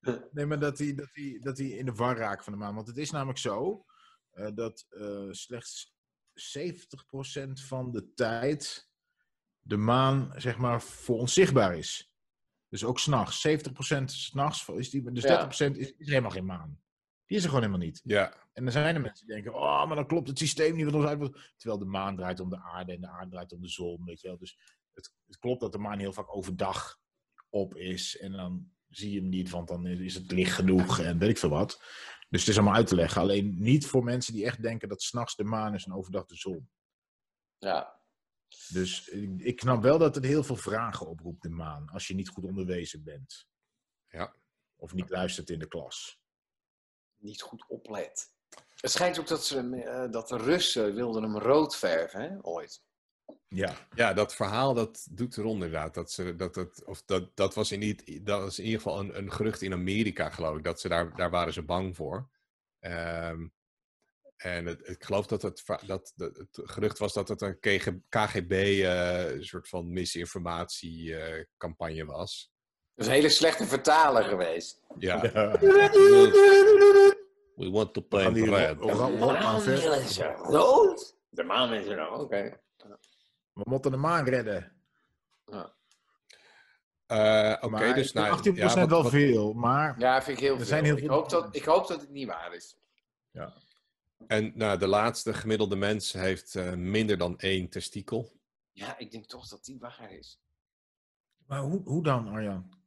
[SPEAKER 2] eh, nee, maar dat die, dat, die, dat die in de war raken van de maan. Want het is namelijk zo eh, dat eh, slechts 70% van de tijd de maan, zeg maar, voor ons zichtbaar is. Dus ook s'nachts. 70% s'nachts is die. Dus
[SPEAKER 3] Ja.
[SPEAKER 2] 30% is, is helemaal geen maan. Die is er gewoon helemaal niet.
[SPEAKER 1] Ja.
[SPEAKER 2] En er zijn er mensen die denken: oh, maar dan klopt het systeem niet wat ons uit. wordt." Terwijl de maan draait om de aarde en de aarde draait om de zon. Weet je wel. Dus het, het klopt dat de maan heel vaak overdag op is. En dan zie je hem niet, want dan is- is het licht genoeg en weet ik veel wat. Dus het is allemaal uit te leggen. Alleen niet voor mensen die echt denken dat s'nachts de maan is en overdag de zon.
[SPEAKER 3] ja.
[SPEAKER 2] Dus ik, ik snap wel dat het heel veel vragen oproept, de maan. Als je niet goed onderwezen bent.
[SPEAKER 1] Ja.
[SPEAKER 2] Of niet luistert in de klas.
[SPEAKER 3] niet goed oplet. Het schijnt ook dat, ze, hem, eh, dat de Russen wilden hem rood verven, hè, ooit.
[SPEAKER 2] Ja.
[SPEAKER 1] ja, dat verhaal dat doet erom inderdaad. Dat, ze, dat, dat, of dat, dat, was in, niet- dat was in ieder geval een, een gerucht in Amerika, geloof ik. Dat ze daar, daar waren ze bang voor. Ehm, En het, ik geloof dat het, va- dat, dat het gerucht was dat het een KG KGB eh, een soort van misinformatiecampagne campagne was.
[SPEAKER 3] Dat is een hele slechte vertaler geweest.
[SPEAKER 1] Ja.
[SPEAKER 2] We
[SPEAKER 1] We want to
[SPEAKER 2] gaan
[SPEAKER 1] play
[SPEAKER 2] hier
[SPEAKER 1] red.
[SPEAKER 2] ro- ro- ro- aan ver-
[SPEAKER 3] is er rood. De maan is er rood. Oké.
[SPEAKER 2] We moeten de maan redden.
[SPEAKER 1] Eh, Oké,
[SPEAKER 2] Maar
[SPEAKER 1] dus
[SPEAKER 2] ik vind
[SPEAKER 1] nou,
[SPEAKER 2] 18%
[SPEAKER 1] ja, wat-
[SPEAKER 2] wel
[SPEAKER 1] wat-
[SPEAKER 2] veel, maar
[SPEAKER 3] Ja, vind ik heel
[SPEAKER 2] Er
[SPEAKER 3] veel.
[SPEAKER 2] zijn heel
[SPEAKER 3] ik,
[SPEAKER 2] veel-
[SPEAKER 3] hoop dat, ik hoop dat het niet waar is.
[SPEAKER 1] En nou, de laatste gemiddelde mens heeft eh, minder dan één testikel.
[SPEAKER 3] Ja, ik denk toch dat die waar is.
[SPEAKER 2] Maar hoe, hoe dan, Arjan?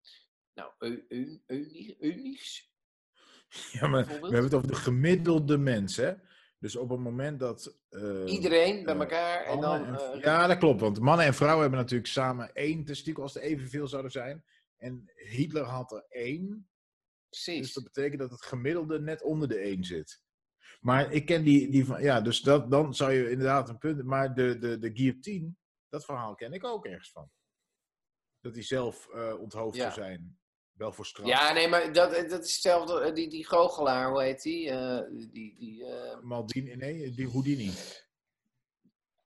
[SPEAKER 3] Nou, eu- eu- eu- Eunice?
[SPEAKER 2] Ja, maar we hebben het over de gemiddelde mens, hè? Dus op het moment dat... eh,
[SPEAKER 3] Iedereen bij
[SPEAKER 2] eh,
[SPEAKER 3] elkaar en dan...
[SPEAKER 2] mannen en-
[SPEAKER 3] eh,
[SPEAKER 2] ja, dat klopt. Want mannen en vrouwen hebben natuurlijk samen één testikel als er evenveel zouden zijn. En Hitler had er één. Dus
[SPEAKER 3] precies.
[SPEAKER 2] dat betekent dat het gemiddelde net onder de één zit. Maar ik ken die, die van... Ja, dus dat, dan zou je inderdaad een punt... Maar de, de, de guillotine, dat verhaal ken ik ook ergens van. Dat die zelf eh, onthoofd
[SPEAKER 3] Ja.
[SPEAKER 2] zou zijn. Wel voor straf.
[SPEAKER 3] Ja, nee, maar dat, dat is hetzelfde. eh, Die, die goochelaar, hoe heet die? Eh, die, die eh,
[SPEAKER 2] Maldini, nee, die Houdini.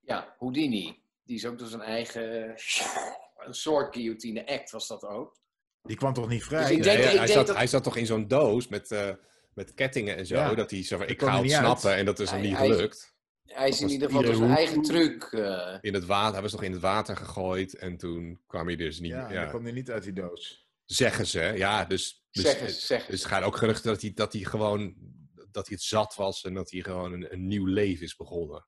[SPEAKER 3] ja, Houdini. Die is ook door zijn eigen... Een soort guillotine act was dat ook.
[SPEAKER 2] Die kwam toch niet vrij?
[SPEAKER 3] Dus ik
[SPEAKER 1] Ja,
[SPEAKER 3] denk-
[SPEAKER 1] ja,
[SPEAKER 3] ik
[SPEAKER 1] hij,
[SPEAKER 3] denk
[SPEAKER 1] zat,
[SPEAKER 3] dat-
[SPEAKER 1] hij zat toch in zo'n doos met, eh, met kettingen en zo.
[SPEAKER 2] Ja.
[SPEAKER 1] Dat hij zo van, ik
[SPEAKER 2] kwam
[SPEAKER 1] ga
[SPEAKER 2] er niet uit.
[SPEAKER 1] ontsnappen en dat is hem
[SPEAKER 3] Hij-
[SPEAKER 1] niet
[SPEAKER 3] hij-
[SPEAKER 1] gelukt.
[SPEAKER 3] Hij is
[SPEAKER 1] Dat
[SPEAKER 3] in
[SPEAKER 1] was
[SPEAKER 3] ieder geval door
[SPEAKER 2] iedere
[SPEAKER 3] zijn
[SPEAKER 2] hoe-
[SPEAKER 3] eigen truc. eh,
[SPEAKER 1] In het water, hij was nog in het water gegooid en toen kwam hij dus niet
[SPEAKER 2] Ja,
[SPEAKER 1] ja,
[SPEAKER 2] die kwam er niet uit die doos.
[SPEAKER 1] Zeggen ze, ja. Dus, dus,
[SPEAKER 3] zeg eens, zeg
[SPEAKER 1] dus
[SPEAKER 3] eens.
[SPEAKER 1] er gaan ook geruchten dat hij, dat hij gewoon dat hij het zat was en dat hij gewoon een, een nieuw leven is begonnen.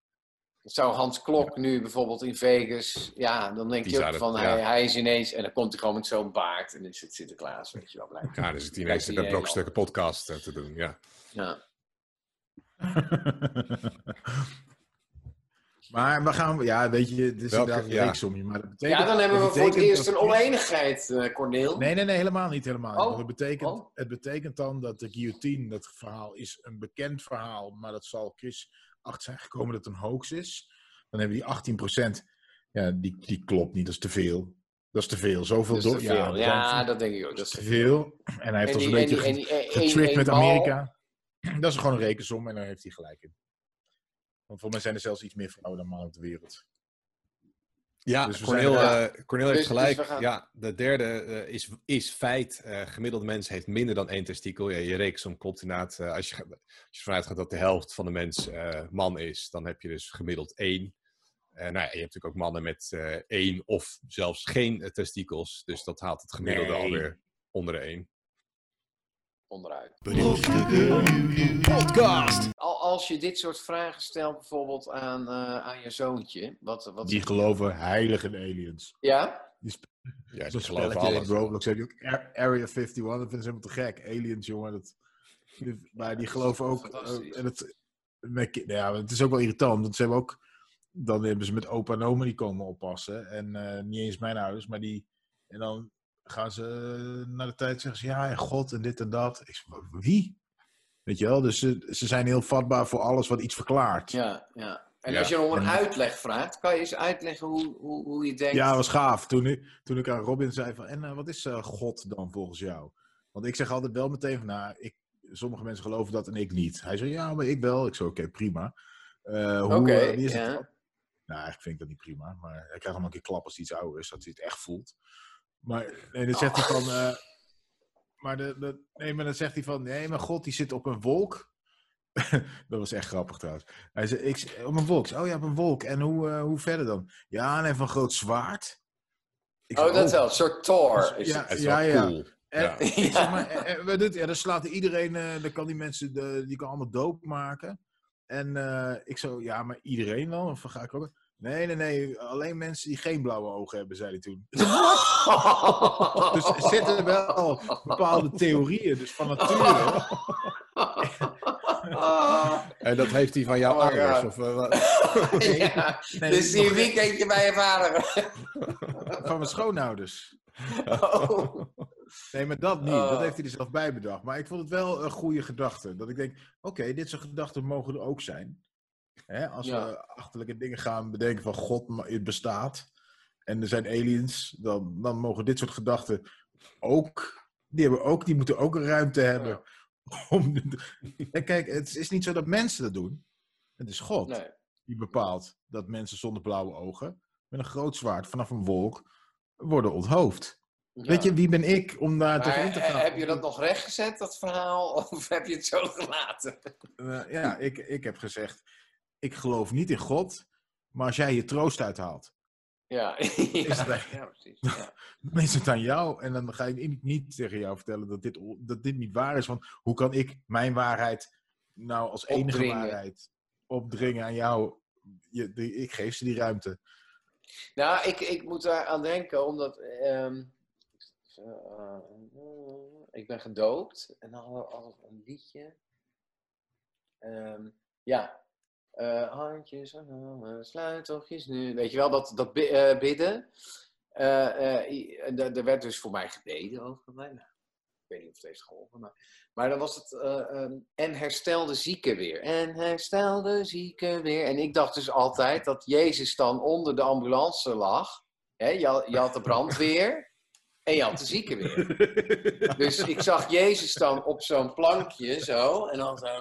[SPEAKER 3] Zou Hans Klok nu bijvoorbeeld in Vegas... Ja, dan denk
[SPEAKER 1] Die
[SPEAKER 3] je ook
[SPEAKER 1] zouden-
[SPEAKER 3] van
[SPEAKER 1] ja.
[SPEAKER 3] hij, hij is ineens... En dan komt hij gewoon met zo'n baard en dan zit Sinterklaas, weet je wel. blijkbaar.
[SPEAKER 1] Ja, dus het ineens
[SPEAKER 3] hij
[SPEAKER 1] de
[SPEAKER 3] heel
[SPEAKER 1] brokstukken podcast eh, te doen, ja.
[SPEAKER 3] Ja.
[SPEAKER 2] maar we gaan, ja, weet je, het is
[SPEAKER 1] Welke-
[SPEAKER 2] inderdaad een
[SPEAKER 1] ja.
[SPEAKER 2] reeksomje, maar dat betekent...
[SPEAKER 3] ja, dan hebben we
[SPEAKER 2] dat
[SPEAKER 3] voor het
[SPEAKER 2] betekent
[SPEAKER 3] eerst
[SPEAKER 2] dat-
[SPEAKER 3] een oneenigheid, eh Corneel.
[SPEAKER 2] Nee, nee, nee, helemaal niet, helemaal niet.
[SPEAKER 3] Oh,
[SPEAKER 2] Want Het, betekent,
[SPEAKER 3] oh.
[SPEAKER 2] het betekent dan dat de guillotine, dat verhaal is een bekend verhaal, maar dat zal Chris achter zijn gekomen dat het een hoax is. Dan hebben we die 18%, ja, die, die klopt niet, dat is te veel. Dat is te veel, zoveel
[SPEAKER 3] Dat is Dus te
[SPEAKER 2] door-
[SPEAKER 3] veel.
[SPEAKER 2] dat
[SPEAKER 3] Ja,
[SPEAKER 2] is
[SPEAKER 3] dat denk ik ook. Dat is
[SPEAKER 2] te veel. En hij heeft ons een beetje... ge- getrickt met Amerika. Dat is gewoon een rekensom en daar heeft hij gelijk in. Want voor mij zijn er zelfs iets meer vrouwen dan mannen op de wereld.
[SPEAKER 1] Ja,
[SPEAKER 2] Dus we
[SPEAKER 1] Cornel,
[SPEAKER 3] zijn er-
[SPEAKER 1] eh, Cornel heeft
[SPEAKER 3] Dus- dus
[SPEAKER 1] gelijk.
[SPEAKER 3] we gaan-
[SPEAKER 1] Ja, de derde eh, is, is feit. Eh, gemiddeld mens heeft minder dan één testikel. Ja, je reeksom klopt inderdaad. Eh, als, je, ga- als je vanuit gaat dat de helft van de mens eh, man is, dan heb je dus gemiddeld één. Eh, nou ja, je hebt natuurlijk ook mannen met eh, één of zelfs geen eh, testikels. Dus dat haalt het gemiddelde
[SPEAKER 2] Nee.
[SPEAKER 1] alweer onder de één.
[SPEAKER 3] onderuit.
[SPEAKER 4] Brokstukken podcast.
[SPEAKER 3] Al, als je dit soort vragen stelt bijvoorbeeld aan, eh, aan je zoontje, wat... wat
[SPEAKER 2] Die geloven heilig in aliens.
[SPEAKER 3] Ja?
[SPEAKER 1] Ja,
[SPEAKER 2] Zo'n
[SPEAKER 1] ik geloof
[SPEAKER 2] spelletje heet
[SPEAKER 1] alles.
[SPEAKER 2] Roblox. Heb je ook Ar- Area 51. Dat vinden ze helemaal te gek. Aliens, jongen. Dat, die- maar die geloven ook...
[SPEAKER 3] Fantastisch.
[SPEAKER 2] eh, en het, mijn ki- nou ja, maar het is ook wel irritant. Want ze hebben ook... Dan hebben ze met opa en oma die komen oppassen. En eh, niet eens mijn ouders. Maar die... En dan gaan ze eh, naar de tijd zeggen ze... Ja, en God en dit en dat. Ik zeg, "Maar wie? Weet je wel? Dus ze, ze zijn heel vatbaar voor alles wat iets verklaart. Ja,
[SPEAKER 3] Ja, ja. En
[SPEAKER 1] Ja.
[SPEAKER 3] als je om een
[SPEAKER 2] En-
[SPEAKER 3] uitleg vraagt, kan je eens uitleggen hoe, hoe, hoe je denkt...
[SPEAKER 2] dat was gaaf. Toen, ik- toen ik aan Robin zei van... En eh, wat is eh, God dan volgens jou? Want ik zeg altijd wel meteen van... Nou, ik, sommige mensen geloven dat en ik niet. Hij zei, ja, maar ik wel. Ik zei, oké, prima. Eh, hoe,
[SPEAKER 3] Oké,
[SPEAKER 2] eh, wie is het
[SPEAKER 3] ja.
[SPEAKER 2] dan? Nou, eigenlijk vind ik dat niet prima. Maar hij krijgt allemaal een keer klap als hij iets ouder is. Dat hij het echt voelt. Maar nee, dat zegt hij van...
[SPEAKER 3] Oh.
[SPEAKER 2] eh, maar, de, de, nee, maar dan zegt hij van... Nee, maar God, die zit op een wolk. dat was echt grappig trouwens. Hij zei, ik, z- op een wolk. Ik zei, Oh ja, op een wolk. En hoe, eh, hoe verder dan? Ja, en even een groot zwaard. Ik
[SPEAKER 3] Oh,
[SPEAKER 2] zei,
[SPEAKER 3] dat wel. Een soort Thor.
[SPEAKER 2] Dus-
[SPEAKER 3] Is
[SPEAKER 2] ja.
[SPEAKER 3] het.
[SPEAKER 1] Het is wel
[SPEAKER 2] ja.
[SPEAKER 1] cool.
[SPEAKER 2] En-
[SPEAKER 1] Ja.
[SPEAKER 2] Ik zeg
[SPEAKER 3] Ja.
[SPEAKER 2] maar, eh, eh, wat doet, ja, dan slaat hij iedereen, eh, dan kan die mensen, de, die kan allemaal doop maken. En eh, ik zo, ja, maar iedereen dan? Of ga ik ook? Nee, nee, nee, alleen mensen die geen blauwe ogen hebben, zei hij toen. Dus er zitten wel bepaalde theorieën, dus van
[SPEAKER 3] Oh.
[SPEAKER 2] nature.
[SPEAKER 3] Ah.
[SPEAKER 1] En dat heeft hij van jouw
[SPEAKER 3] Oh my
[SPEAKER 1] ouders?
[SPEAKER 3] God.
[SPEAKER 1] Of, eh, wat-
[SPEAKER 3] Ja,
[SPEAKER 2] Nee,
[SPEAKER 3] Dus die weekendje bij je vader.
[SPEAKER 2] van mijn schoonouders.
[SPEAKER 3] Oh.
[SPEAKER 2] Nee, maar dat niet. Dat
[SPEAKER 3] Oh.
[SPEAKER 2] heeft hij er zelf bij bedacht. Maar ik vond het wel een goede gedachte. Dat ik denk, oké, dit soort gedachten mogen er ook zijn. Hè, als
[SPEAKER 3] Ja.
[SPEAKER 2] we achterlijke dingen gaan bedenken van God, maar het bestaat. En er zijn aliens, dan, dan mogen dit soort gedachten ook... Die, hebben ook, die moeten ook een ruimte hebben Om de- en kijk, het is niet zo dat mensen dat doen. Het is God
[SPEAKER 3] Nee.
[SPEAKER 2] die bepaalt dat mensen zonder blauwe ogen met een groot zwaard vanaf een wolk worden onthoofd. Weet je, wie ben ik om daar
[SPEAKER 3] Maar,
[SPEAKER 2] tegenin te
[SPEAKER 3] eh,
[SPEAKER 2] gaan?
[SPEAKER 3] heb je dat nog rechtgezet, dat verhaal? Of heb je het zo gelaten?
[SPEAKER 2] Eh, ja, ik, ik heb gezegd, ik geloof niet in God, maar als jij je troost uithaalt,
[SPEAKER 3] Ja,
[SPEAKER 2] het-
[SPEAKER 3] ja, ja precies. Ja.
[SPEAKER 2] dan is het aan jou. En dan ga ik niet- niet tegen jou vertellen dat dit, o- dat dit niet waar is. Want hoe kan ik mijn waarheid nou als enige
[SPEAKER 3] Opdringen.
[SPEAKER 2] waarheid opdringen aan jou? Je, die- ik geef ze die ruimte.
[SPEAKER 3] Nou, ik, ik moet daar aan denken, omdat ehm, eh, ik ben gedoopt en dan hadden we altijd een liedje. Ehm, ja, Eh, handjes aan handen, sluit oogjes nu. Weet je wel, dat, dat bi- eh, bidden. Eh, eh, i- en daar- daar werd dus voor mij gebeden over mij. Nou, ik weet niet of het heeft geholpen, maar, maar dan was het eh, ehm, en herstel de zieke weer. En herstel de zieke weer. En ik dacht dus altijd dat Jezus dan onder de ambulance lag. Hè, je, had- je had de brandweer en je had de zieke weer. Dus ik zag Jezus dan op zo'n plankje zo. En dan zo.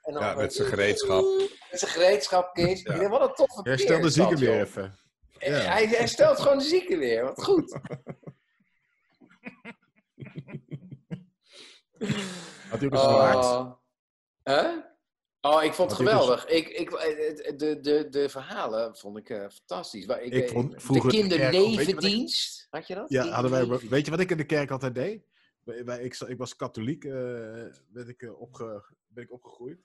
[SPEAKER 3] En dan
[SPEAKER 1] Ja,
[SPEAKER 3] zo-
[SPEAKER 1] met zijn gereedschap.
[SPEAKER 3] Met zijn gereedschap, Kees.
[SPEAKER 1] Ja.
[SPEAKER 3] Ik dacht, Wat een toffe peer
[SPEAKER 2] Herstel de
[SPEAKER 3] is dat,
[SPEAKER 2] zieken weer
[SPEAKER 3] joh.
[SPEAKER 2] even.
[SPEAKER 3] Eh,
[SPEAKER 2] Ja.
[SPEAKER 3] Hij herstelt gewoon de zieken weer. Wat goed.
[SPEAKER 2] Had hij ook een zwaard?
[SPEAKER 3] Oh. Huh? Oh, ik vond
[SPEAKER 2] Wat dit is-
[SPEAKER 3] het geweldig. Ik, ik, eh, de, de, de verhalen vond ik eh, fantastisch. Waar Ik,
[SPEAKER 2] Ik
[SPEAKER 3] eh,
[SPEAKER 2] vond vroeger
[SPEAKER 3] de
[SPEAKER 2] de kerk-
[SPEAKER 3] kinderlevendienst. Had je dat?
[SPEAKER 2] Ja, hadden wij,
[SPEAKER 3] Kinderleven-
[SPEAKER 2] weet je wat ik in de kerk altijd deed? Wij- wij- ik, ik was katholiek, eh, werd ik, eh, opge, ben ik opgegroeid.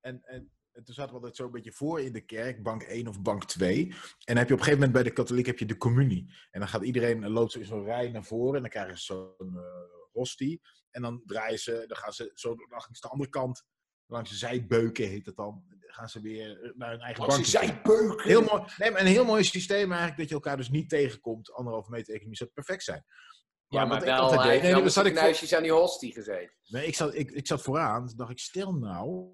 [SPEAKER 2] En, en, en toen zaten we altijd zo een beetje voor in de kerk, bank 1 of bank 2. En dan heb je op een gegeven moment bij de katholiek heb je de communie. En dan gaat iedereen, eh, loopt zo in zo'n rij naar voren en dan krijgen ze zo'n eh hostie. En dan draaien ze, dan gaan ze zo langs de andere kant, langs de zijbeuken heet dat dan. Dan gaan ze weer naar hun eigen
[SPEAKER 3] Langs de
[SPEAKER 2] bank.
[SPEAKER 3] zijbeuken.
[SPEAKER 2] Heel mooi, nee, maar een heel mooi systeem eigenlijk, dat je elkaar dus niet tegenkomt. Anderhalve meter economie zou perfect zijn.
[SPEAKER 3] Ja, maar
[SPEAKER 2] wat ik
[SPEAKER 3] wel,
[SPEAKER 2] altijd
[SPEAKER 3] hij
[SPEAKER 2] deed-
[SPEAKER 3] heeft
[SPEAKER 2] nee,
[SPEAKER 3] wel
[SPEAKER 2] nee,
[SPEAKER 3] met
[SPEAKER 2] dat zat
[SPEAKER 3] zijn
[SPEAKER 2] ik voor-
[SPEAKER 3] knuisjes aan die hostie gezeten.
[SPEAKER 2] Nee, ik zat, ik, ik zat vooraan. Toen dacht ik, stil nou.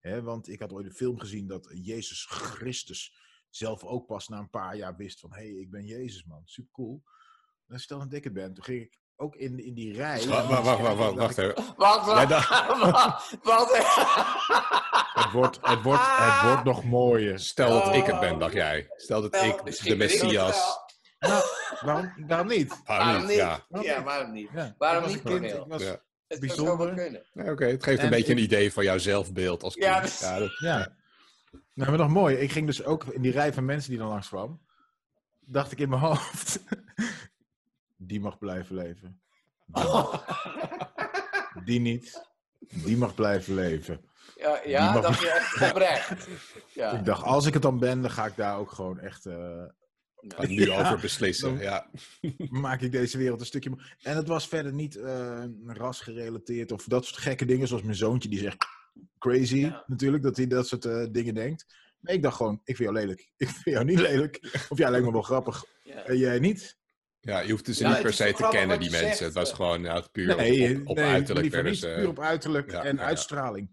[SPEAKER 2] Hè, want ik had ooit een film gezien dat Jezus Christus zelf ook pas na een paar jaar wist van... Hé, hey, ik ben Jezus, man. Super cool. En stel dat ik het ben. Toen ging ik ook in, in die rij.
[SPEAKER 1] Wacht, wacht, wacht, wacht, wacht, wacht even.
[SPEAKER 3] Wat?
[SPEAKER 1] Jij
[SPEAKER 3] Wat? Wat?
[SPEAKER 2] Het wordt, het, wordt, het wordt nog mooier.
[SPEAKER 1] Stel dat ik het ben, dacht jij. Stel dat ik
[SPEAKER 3] Misschien
[SPEAKER 1] de
[SPEAKER 3] ben ik dat
[SPEAKER 1] Messias...
[SPEAKER 3] wel.
[SPEAKER 2] Waarom, waarom niet?
[SPEAKER 1] Ah, niet, ja.
[SPEAKER 2] Waarom
[SPEAKER 3] Ja,
[SPEAKER 2] niet?
[SPEAKER 3] waarom niet?
[SPEAKER 2] Ja, ik
[SPEAKER 3] Waarom
[SPEAKER 2] was
[SPEAKER 3] niet,
[SPEAKER 2] een kind,
[SPEAKER 3] Cornel?
[SPEAKER 2] ik was-
[SPEAKER 1] Ja.
[SPEAKER 3] Het
[SPEAKER 2] Bijzonder.
[SPEAKER 3] zou wel kunnen.
[SPEAKER 1] Nee, Oké, het geeft een
[SPEAKER 2] En
[SPEAKER 1] beetje
[SPEAKER 2] ik-
[SPEAKER 1] een idee van jouw zelfbeeld als kind.
[SPEAKER 3] Ja, dus
[SPEAKER 1] Ja,
[SPEAKER 3] dat-
[SPEAKER 1] dat-
[SPEAKER 2] Ja. Nou, maar nog mooi. Ik ging dus ook in die rij van mensen die er langs kwam. Dacht ik in mijn hoofd. Die mag blijven leven. Die,
[SPEAKER 3] Oh.
[SPEAKER 2] die niet. Die mag blijven leven.
[SPEAKER 3] Ja,
[SPEAKER 2] Die
[SPEAKER 3] ja
[SPEAKER 2] mag-
[SPEAKER 3] dacht je echt oprecht. Ja.
[SPEAKER 2] Ik dacht, als ik het dan ben, dan ga ik daar ook gewoon echt. eh,
[SPEAKER 1] dat nu over beslissen. Ja.
[SPEAKER 2] maak ik deze wereld een stukje. mo- En het was verder niet eh rasgerelateerd of dat soort gekke dingen. Zoals mijn zoontje die zegt crazy
[SPEAKER 3] Ja.
[SPEAKER 2] natuurlijk, dat hij dat soort eh, dingen denkt. Maar ik dacht gewoon, ik vind jou lelijk. Ik vind jou niet lelijk. Of jij lijkt me wel grappig.
[SPEAKER 3] Ja.
[SPEAKER 2] En jij niet.
[SPEAKER 1] ja, je hoeft ze
[SPEAKER 3] Ja,
[SPEAKER 1] niet
[SPEAKER 3] het
[SPEAKER 1] per
[SPEAKER 3] is
[SPEAKER 1] se
[SPEAKER 3] wel
[SPEAKER 1] te
[SPEAKER 3] grappig
[SPEAKER 1] kennen,
[SPEAKER 3] wat
[SPEAKER 1] die
[SPEAKER 3] je
[SPEAKER 1] mensen.
[SPEAKER 3] zegt. eh.
[SPEAKER 1] Het was gewoon ja, het puur op-
[SPEAKER 2] Nee,
[SPEAKER 1] op, op
[SPEAKER 2] nee,
[SPEAKER 1] uiterlijk.
[SPEAKER 2] liever
[SPEAKER 1] eh, werden
[SPEAKER 2] niet.
[SPEAKER 1] ze-
[SPEAKER 2] Puur op uiterlijk
[SPEAKER 1] ja,
[SPEAKER 2] en
[SPEAKER 1] ja, ja.
[SPEAKER 2] uitstraling.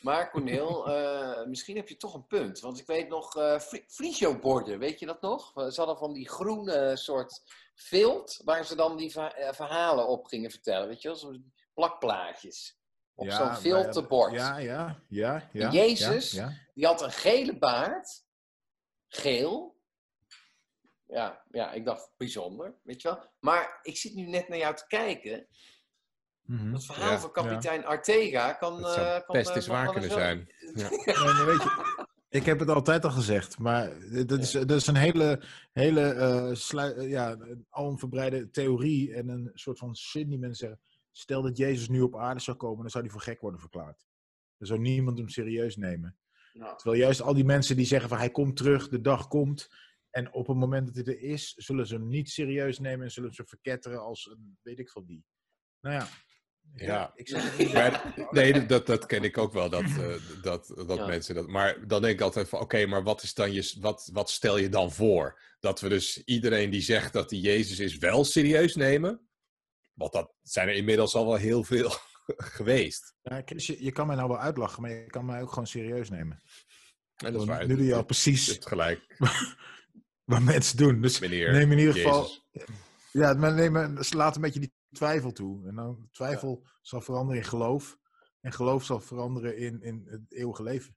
[SPEAKER 3] Maar Cornel, eh, misschien heb je toch een punt. Want ik weet nog, eh fri- friesioborden, weet je dat nog? Ze hadden van die groene soort vilt, waar ze dan die verha- eh, verhalen op gingen vertellen. Weet je wel, zo'n plakplaatjes. Op zo'n
[SPEAKER 2] maar
[SPEAKER 3] filterbord.
[SPEAKER 2] Ja, ja, ja. ja
[SPEAKER 3] Jezus?
[SPEAKER 2] Ja, ja.
[SPEAKER 3] Die had een gele baard. Geel. Ja, ja, ik dacht bijzonder, weet je wel. Maar ik zit nu net naar jou te kijken.
[SPEAKER 2] Mhm.
[SPEAKER 3] Dat verhaal
[SPEAKER 1] Ja,
[SPEAKER 3] van kapitein Artega kan...
[SPEAKER 1] Het zou
[SPEAKER 3] eh, kan
[SPEAKER 1] best
[SPEAKER 3] eh,
[SPEAKER 1] eens
[SPEAKER 3] nog
[SPEAKER 1] waar
[SPEAKER 3] wel
[SPEAKER 1] kunnen
[SPEAKER 3] eens wel-
[SPEAKER 1] zijn.
[SPEAKER 2] Nee, maar weet je, ik heb het altijd al gezegd, maar dat is, dat is een hele, hele eh, slui- eh, ja, een alomverbreide theorie en een soort van zin die mensen zeggen. Stel dat Jezus nu op aarde zou komen, dan zou hij voor gek worden verklaard. Dan zou niemand hem serieus nemen.
[SPEAKER 3] Nou,
[SPEAKER 2] Terwijl juist al die mensen die zeggen van hij komt terug, de dag komt. En op het moment dat hij er is, zullen ze hem niet serieus nemen en zullen ze hem verketteren als een weet ik van wie. Nou ja. Ik-
[SPEAKER 1] Ja.
[SPEAKER 2] Ik zeg het niet.
[SPEAKER 1] Maar, nee, dat, dat ken ik ook wel, dat, eh, dat, dat
[SPEAKER 3] Ja.
[SPEAKER 1] mensen dat... Maar dan denk ik altijd van, oké, maar wat, is dan je, wat, wat stel je dan voor? Dat we dus iedereen die zegt dat die Jezus is, wel serieus nemen? Want dat zijn er inmiddels al wel heel veel geweest.
[SPEAKER 2] Ja, Chris, je, je kan mij nou wel uitlachen, maar je kan mij ook gewoon serieus nemen.
[SPEAKER 1] En dat is waar.
[SPEAKER 2] nu doe je al
[SPEAKER 1] Je
[SPEAKER 2] precies
[SPEAKER 1] hebt gelijk,
[SPEAKER 2] wat mensen doen. Dus
[SPEAKER 1] meneer
[SPEAKER 2] neem in ieder
[SPEAKER 1] Jezus.
[SPEAKER 2] geval. Ja, maar neem, maar- dus laat een beetje die twijfel toe. En dan twijfel zal veranderen in geloof. En geloof zal veranderen in, in het eeuwige leven.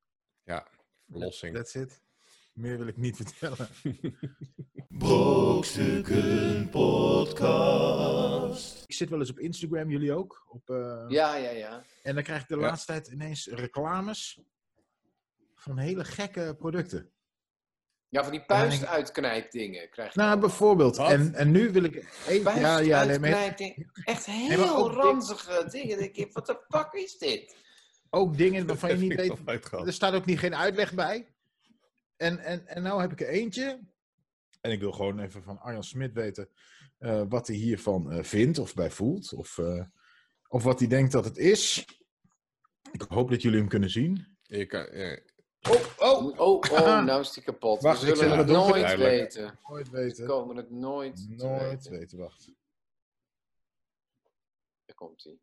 [SPEAKER 1] Verlossing.
[SPEAKER 2] That's it. Meer wil ik niet vertellen.
[SPEAKER 4] Brokstukken Podcast.
[SPEAKER 2] Ik zit wel eens op Instagram, jullie ook. Op, eh,
[SPEAKER 3] Ja, ja, ja.
[SPEAKER 2] En dan krijg ik de
[SPEAKER 1] Ja.
[SPEAKER 2] laatste tijd ineens reclames van hele gekke producten.
[SPEAKER 3] Ja, van die puist uitknijpdingen krijg je.
[SPEAKER 2] Nou, bijvoorbeeld.
[SPEAKER 1] Wat?
[SPEAKER 2] En, en nu wil ik. Hey,
[SPEAKER 3] Puist
[SPEAKER 2] ja, ja, nee, maar
[SPEAKER 3] uitknijpding. Echt
[SPEAKER 2] maar ook
[SPEAKER 3] heel
[SPEAKER 2] dik-
[SPEAKER 3] ranzige dingen. Denk ik, wat de fuck is dit?
[SPEAKER 2] ook dingen waarvan je niet
[SPEAKER 1] Heb ik
[SPEAKER 2] weet.
[SPEAKER 1] nog nooit gehad.
[SPEAKER 2] Er
[SPEAKER 3] Dus-
[SPEAKER 2] staat ook niet geen uitleg bij. En, en, en nou heb ik er eentje. En ik wil gewoon even van Arjan Smit weten eh, wat hij hiervan eh, vindt of bij voelt. Of, eh, of wat hij denkt dat het is. Ik hoop dat jullie hem kunnen zien.
[SPEAKER 1] Je kan- ja.
[SPEAKER 2] Oh, oh!
[SPEAKER 3] Oh, oh, nou is die kapot.
[SPEAKER 2] Wacht, ik
[SPEAKER 3] We zullen
[SPEAKER 2] zeg
[SPEAKER 3] het
[SPEAKER 1] maar,
[SPEAKER 3] nooit
[SPEAKER 1] duidelijk.
[SPEAKER 3] weten.
[SPEAKER 2] Nooit
[SPEAKER 3] We
[SPEAKER 2] weten.
[SPEAKER 3] komen het nooit, te
[SPEAKER 2] Nooit
[SPEAKER 3] weten.
[SPEAKER 2] weten, wacht.
[SPEAKER 3] Daar komt hij.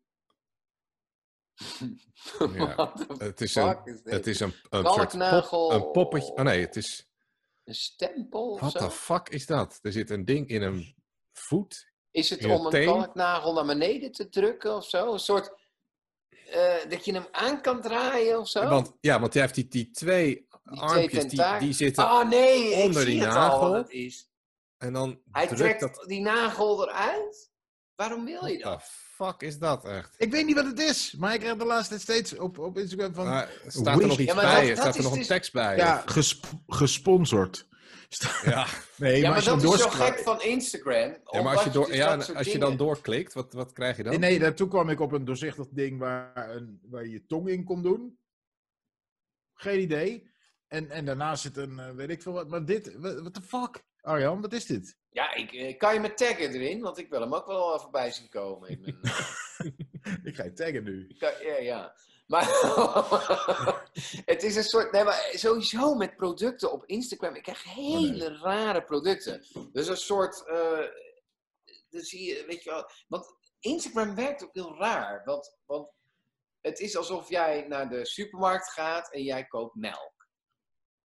[SPEAKER 1] Ja. Het is een, het is een, een soort pop,
[SPEAKER 3] Kalknagel.
[SPEAKER 1] een poppetje. Oh nee, het is.
[SPEAKER 3] Een stempel of
[SPEAKER 1] What
[SPEAKER 3] zo?
[SPEAKER 1] the fuck is dat? Er zit een ding in een voet.
[SPEAKER 3] Is het
[SPEAKER 1] in je
[SPEAKER 3] om een
[SPEAKER 1] teen?
[SPEAKER 3] kalknagel naar beneden te drukken of zo? Een soort... eh, dat je hem aan kan draaien of zo?
[SPEAKER 1] Want, ja, want hij heeft die, die twee
[SPEAKER 3] Die twee
[SPEAKER 1] armpjes die,
[SPEAKER 3] tentakels.
[SPEAKER 1] die zitten.
[SPEAKER 3] Oh nee, ik
[SPEAKER 1] onder
[SPEAKER 3] zie
[SPEAKER 1] die
[SPEAKER 3] het al
[SPEAKER 1] nagel.
[SPEAKER 3] wat het is.
[SPEAKER 1] En dan
[SPEAKER 3] Hij
[SPEAKER 1] drukt
[SPEAKER 3] trekt
[SPEAKER 1] dat.
[SPEAKER 3] die nagel eruit? Waarom wil je
[SPEAKER 1] What
[SPEAKER 3] dat?
[SPEAKER 1] the fuck is dat echt?
[SPEAKER 2] Ik weet niet wat het is, maar ik krijg de laatste tijd steeds op, op Instagram van.
[SPEAKER 1] Maar staat er nog
[SPEAKER 2] Wish-
[SPEAKER 1] iets
[SPEAKER 3] Ja, maar
[SPEAKER 1] bij?
[SPEAKER 3] dat-
[SPEAKER 1] staat
[SPEAKER 3] dat
[SPEAKER 1] er nog
[SPEAKER 3] is
[SPEAKER 1] een
[SPEAKER 3] dus-
[SPEAKER 1] tekst bij?
[SPEAKER 2] Ah, ja, gesp- gesponsord.
[SPEAKER 1] ja.
[SPEAKER 2] Nee,
[SPEAKER 3] ja, maar
[SPEAKER 2] als je
[SPEAKER 3] dat
[SPEAKER 2] hem
[SPEAKER 3] is zo
[SPEAKER 2] doorscroll-
[SPEAKER 3] gek van Instagram.
[SPEAKER 1] Ja, maar als je,
[SPEAKER 3] omdat
[SPEAKER 1] door,
[SPEAKER 3] dus
[SPEAKER 1] ja,
[SPEAKER 3] dat soort
[SPEAKER 1] als je
[SPEAKER 3] dingen-
[SPEAKER 1] dan doorklikt, wat, wat krijg je dan?
[SPEAKER 2] Nee, nee, daartoe kwam ik op een doorzichtig ding waar, een, waar je je tong in kon doen. Geen idee. En, en daarna zit een, eh, weet ik veel wat, maar dit, wat de fuck? Arjan, wat is dit?
[SPEAKER 3] Ja, ik, eh, kan je me taggen erin? Want ik wil hem ook wel eh, voorbij zien komen. In mijn,
[SPEAKER 2] Ik ga je taggen nu.
[SPEAKER 3] Ja, ja, ja. Maar het is een soort. Nee, maar sowieso met producten op Instagram. Ik krijg hele rare producten. Dus een soort. eh dan zie je, weet je wel. Want Instagram werkt ook heel raar. Want, want het is alsof jij naar de supermarkt gaat en jij koopt melk.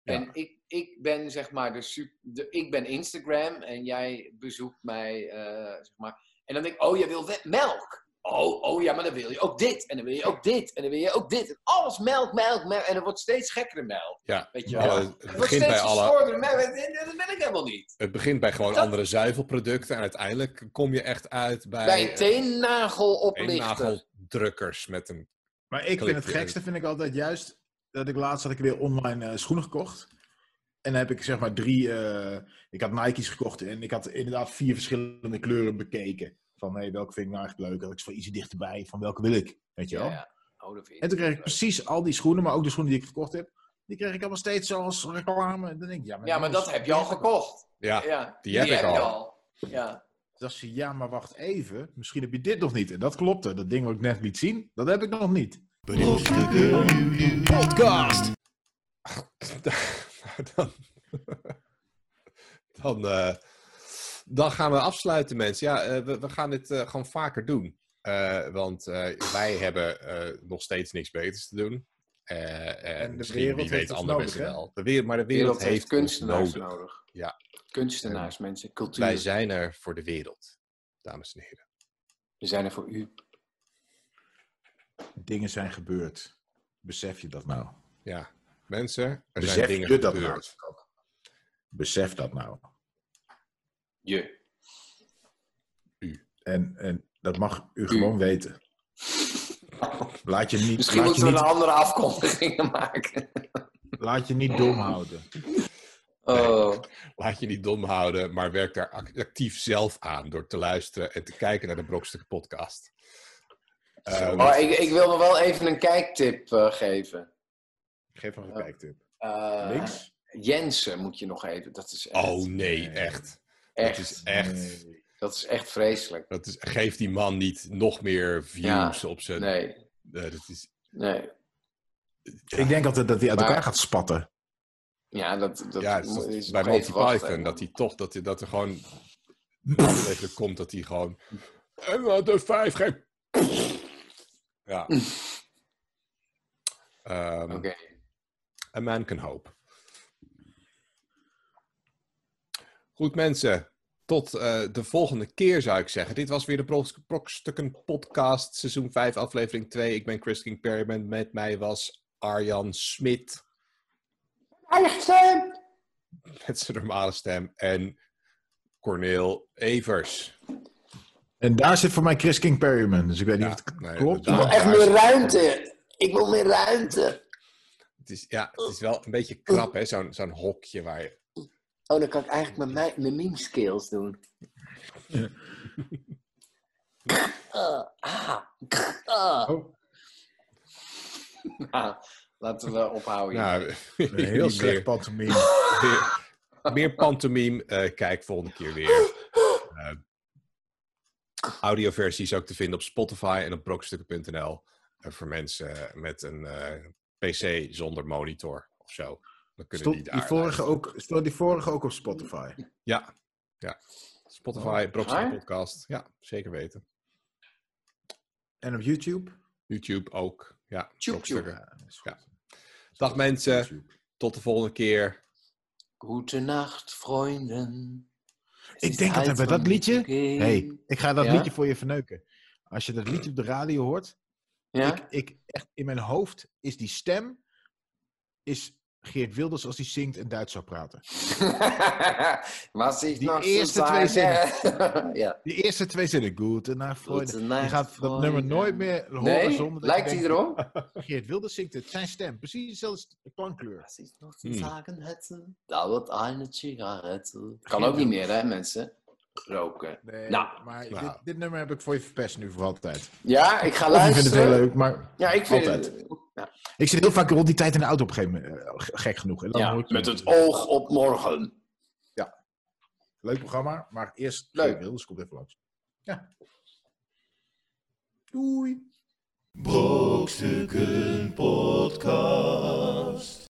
[SPEAKER 2] Ja.
[SPEAKER 3] En ik, ik ben zeg maar de, sup- de. Ik ben Instagram en jij bezoekt mij. eh, zeg maar, en dan denk ik, oh, jij wil we- melk. Oh, oh ja, maar dan wil je ook dit. En dan wil je ook dit. En dan wil je ook dit. En alles melk, melk, melk. En het wordt steeds gekkere melk.
[SPEAKER 1] Ja,
[SPEAKER 3] Weet je
[SPEAKER 2] Ja.
[SPEAKER 3] wel.
[SPEAKER 1] alle-
[SPEAKER 3] Het
[SPEAKER 1] het,
[SPEAKER 3] wordt
[SPEAKER 1] begint bij
[SPEAKER 3] steeds
[SPEAKER 1] alle,
[SPEAKER 3] geschoordere melk. En Dat ben ik helemaal niet.
[SPEAKER 1] het begint bij gewoon
[SPEAKER 3] Dat-
[SPEAKER 1] andere zuivelproducten. En uiteindelijk kom je echt uit bij,
[SPEAKER 3] Bij een
[SPEAKER 1] eh,
[SPEAKER 3] teennagel oplichten.
[SPEAKER 1] eennageldrukkers met een...
[SPEAKER 2] Maar ik vind
[SPEAKER 1] Klik
[SPEAKER 2] het
[SPEAKER 1] je-
[SPEAKER 2] gekste, vind ik altijd juist, dat ik laatst had ik weer online eh, schoenen gekocht. En dan heb ik zeg maar drie, eh, ik had Nike's gekocht en ik had inderdaad vier verschillende kleuren bekeken. Van, hé, welke vind ik nou echt leuk? Had ik ze van iets dichterbij, van welke wil ik? Weet je wel?
[SPEAKER 3] Oh, dat vind ik
[SPEAKER 2] En toen kreeg ik
[SPEAKER 3] leuk.
[SPEAKER 2] precies al die schoenen, maar ook de schoenen die ik gekocht heb. Die kreeg ik allemaal steeds zoals reclame. En Dan denk ik, ja, maar,
[SPEAKER 3] Ja, maar dat heb je al gekocht.
[SPEAKER 1] Ja,
[SPEAKER 3] Ja,
[SPEAKER 1] die heb ik
[SPEAKER 3] je
[SPEAKER 1] al.
[SPEAKER 3] Ja.
[SPEAKER 2] Dat ze, ja, maar wacht even. Misschien heb je dit nog niet. En dat klopte. Dat ding wat ik net liet zien, dat heb ik nog niet.
[SPEAKER 4] Brokstukken Podcast.
[SPEAKER 1] dan, dan, eh, dan gaan we afsluiten, mensen. Ja, eh, we, we gaan dit eh, gewoon vaker doen. Eh, want eh, wij hebben eh, nog steeds niks beters te doen. Eh, eh,
[SPEAKER 2] En de
[SPEAKER 1] misschien,
[SPEAKER 2] wereld
[SPEAKER 1] wie
[SPEAKER 2] heeft
[SPEAKER 1] weet
[SPEAKER 2] ons
[SPEAKER 1] andere
[SPEAKER 2] nodig,
[SPEAKER 1] mensen
[SPEAKER 2] hè?
[SPEAKER 1] wel. De wereld, maar de
[SPEAKER 3] De
[SPEAKER 1] wereld,
[SPEAKER 3] wereld heeft
[SPEAKER 1] ons
[SPEAKER 3] kunstenaars
[SPEAKER 1] nodig.
[SPEAKER 3] nodig.
[SPEAKER 1] Ja.
[SPEAKER 3] Kunstenaars, mensen. Cultuur.
[SPEAKER 1] Wij zijn er voor de wereld, dames en heren.
[SPEAKER 3] We zijn er voor u.
[SPEAKER 2] Dingen zijn gebeurd. Besef je dat nou?
[SPEAKER 1] Ja, mensen, er
[SPEAKER 2] Besef
[SPEAKER 1] zijn dingen
[SPEAKER 2] je dat
[SPEAKER 1] gebeurd.
[SPEAKER 2] nou? Besef dat nou.
[SPEAKER 3] Je.
[SPEAKER 2] En, en dat mag u gewoon weten. Laat je niet,
[SPEAKER 3] Misschien
[SPEAKER 2] laat je
[SPEAKER 3] moeten we een
[SPEAKER 2] niet,
[SPEAKER 3] andere afkondigingen maken.
[SPEAKER 2] laat je niet dom houden.
[SPEAKER 3] Oh.
[SPEAKER 1] Laat je niet dom houden, maar werk daar ac- actief zelf aan door te luisteren en te kijken naar de Brokstukken podcast. Eh,
[SPEAKER 3] Maar ik, ik wil nog wel even een kijktip eh, geven.
[SPEAKER 2] Geef een kijktip.
[SPEAKER 3] Eh,
[SPEAKER 2] Links?
[SPEAKER 3] Jensen moet je nog even. Dat is echt,
[SPEAKER 1] oh nee, echt.
[SPEAKER 3] Eh, echt,
[SPEAKER 1] Dat is echt.
[SPEAKER 2] Nee.
[SPEAKER 3] dat is echt vreselijk.
[SPEAKER 1] Dat is, geef die man niet nog meer views op zijn.
[SPEAKER 3] Nee,
[SPEAKER 1] Eh, dat is,
[SPEAKER 3] nee.
[SPEAKER 2] Ik denk altijd dat hij uit
[SPEAKER 3] Maar-
[SPEAKER 2] elkaar gaat spatten.
[SPEAKER 3] Ja, dat, dat
[SPEAKER 1] ja,
[SPEAKER 3] moet-
[SPEAKER 1] dat is
[SPEAKER 3] is
[SPEAKER 1] bij
[SPEAKER 3] nog
[SPEAKER 1] Monty
[SPEAKER 3] even wachten.
[SPEAKER 1] Python, dat hij toch, dat, hij- dat er gewoon degelijk komt dat hij gewoon. En wat een vijf geen. Ja. Ehm,
[SPEAKER 3] Oké.
[SPEAKER 1] A man can hope. Goed mensen, tot eh, de volgende keer, zou ik zeggen. Dit was weer de Brok- Brokstukken Podcast, seizoen 5, aflevering 2. Ik ben Chris King Perryman. Met mij was Arjan Smit. Arjan Met zijn normale stem. En Corneel Evers.
[SPEAKER 2] En daar zit voor mij Chris King Perryman. Dus ik weet niet
[SPEAKER 1] Ja,
[SPEAKER 2] of het k-
[SPEAKER 1] nee,
[SPEAKER 2] klopt.
[SPEAKER 1] dat-
[SPEAKER 5] Ik wil echt meer ruimte. Ik wil meer ruimte.
[SPEAKER 1] Het is, ja, het is wel een beetje krap, hè? Zo'n zo'n hokje waar je...
[SPEAKER 5] Oh, dan kan ik eigenlijk mijn, mij- mijn meme skills doen.
[SPEAKER 2] Ja.
[SPEAKER 5] Ah, ah, ah.
[SPEAKER 2] Oh,
[SPEAKER 3] Nou, laten we ophouden. hier.
[SPEAKER 1] Nou,
[SPEAKER 2] een heel slecht
[SPEAKER 1] meer,
[SPEAKER 2] pantomime.
[SPEAKER 1] meer, meer pantomime. Eh, kijk volgende keer weer. Eh, audioversie is ook te vinden op Spotify en op brokstukken.nl. Eh, voor mensen met een eh, PC zonder monitor of zo. Dan kunnen
[SPEAKER 2] Stond
[SPEAKER 1] die
[SPEAKER 2] die,
[SPEAKER 1] daar eh,
[SPEAKER 2] vorige
[SPEAKER 1] luisteren.
[SPEAKER 2] ook, stond die vorige ook op Spotify?
[SPEAKER 1] Ja, ja. Spotify, Brokstukken
[SPEAKER 3] Oh, waar?
[SPEAKER 1] Podcast. Ja, zeker weten.
[SPEAKER 2] En op YouTube?
[SPEAKER 1] YouTube ook. Ja,
[SPEAKER 3] Tjoep,
[SPEAKER 1] Brokstukken.
[SPEAKER 2] Ja, dat is
[SPEAKER 1] Ja.
[SPEAKER 2] goed.
[SPEAKER 1] Dag mensen,
[SPEAKER 2] YouTube.
[SPEAKER 1] tot de volgende keer.
[SPEAKER 5] Goedenacht, vrienden. Het
[SPEAKER 2] Ik
[SPEAKER 5] is
[SPEAKER 2] denk dat
[SPEAKER 5] tijd
[SPEAKER 2] we
[SPEAKER 5] van
[SPEAKER 2] dat liedje-
[SPEAKER 5] te gaan.
[SPEAKER 2] hey, ik ga dat
[SPEAKER 3] Eh, Ja?
[SPEAKER 2] liedje voor je verneuken. Als je dat liedje op de radio hoort,
[SPEAKER 3] ja?
[SPEAKER 2] ik, ik, echt, in mijn hoofd is die stem, is Geert Wilders als hij zingt en Duits zou praten.
[SPEAKER 3] Was ik
[SPEAKER 2] Die
[SPEAKER 3] nog
[SPEAKER 2] eerste
[SPEAKER 3] zo
[SPEAKER 2] twee
[SPEAKER 3] zagen? ja.
[SPEAKER 2] Die eerste twee zinnen, goed en naar Freunde. Je
[SPEAKER 3] Goedenacht,
[SPEAKER 2] gaat dat
[SPEAKER 3] Freunde.
[SPEAKER 2] nummer nooit meer horen
[SPEAKER 3] Nee,
[SPEAKER 2] zonder dat
[SPEAKER 3] lijkt
[SPEAKER 2] je
[SPEAKER 3] hij
[SPEAKER 2] denkt,
[SPEAKER 3] erom?
[SPEAKER 2] Geert Wilders zingt het, zijn stem, precies dezelfde klankkleur.
[SPEAKER 5] Was ich noch
[SPEAKER 2] Hmm.
[SPEAKER 1] Hm.
[SPEAKER 5] zu sagen hätte, da wird eine Zigarette.
[SPEAKER 3] Kan ook niet meer, hè, mensen? Roken.
[SPEAKER 2] Nee,
[SPEAKER 3] Nou,
[SPEAKER 2] maar
[SPEAKER 1] nou.
[SPEAKER 2] Dit, dit nummer heb ik voor je verpest nu voor altijd.
[SPEAKER 3] Ja, ik ga
[SPEAKER 2] Of je vindt Oh, het heel
[SPEAKER 3] luisteren.
[SPEAKER 2] leuk, maar
[SPEAKER 3] Ja, ik vind
[SPEAKER 2] Altijd.
[SPEAKER 3] het. Ja,
[SPEAKER 2] ik zit heel vaak rond die tijd in de auto op een gegeven moment. eh, g- Gek genoeg. En dan Oh, hoor
[SPEAKER 3] ja,
[SPEAKER 2] ik-
[SPEAKER 3] met het oog op morgen.
[SPEAKER 2] Leuk programma, maar eerst
[SPEAKER 3] Leuk.
[SPEAKER 2] Geert Wilders komt even langs. Ja. Doei.
[SPEAKER 4] Brokstukken Podcast.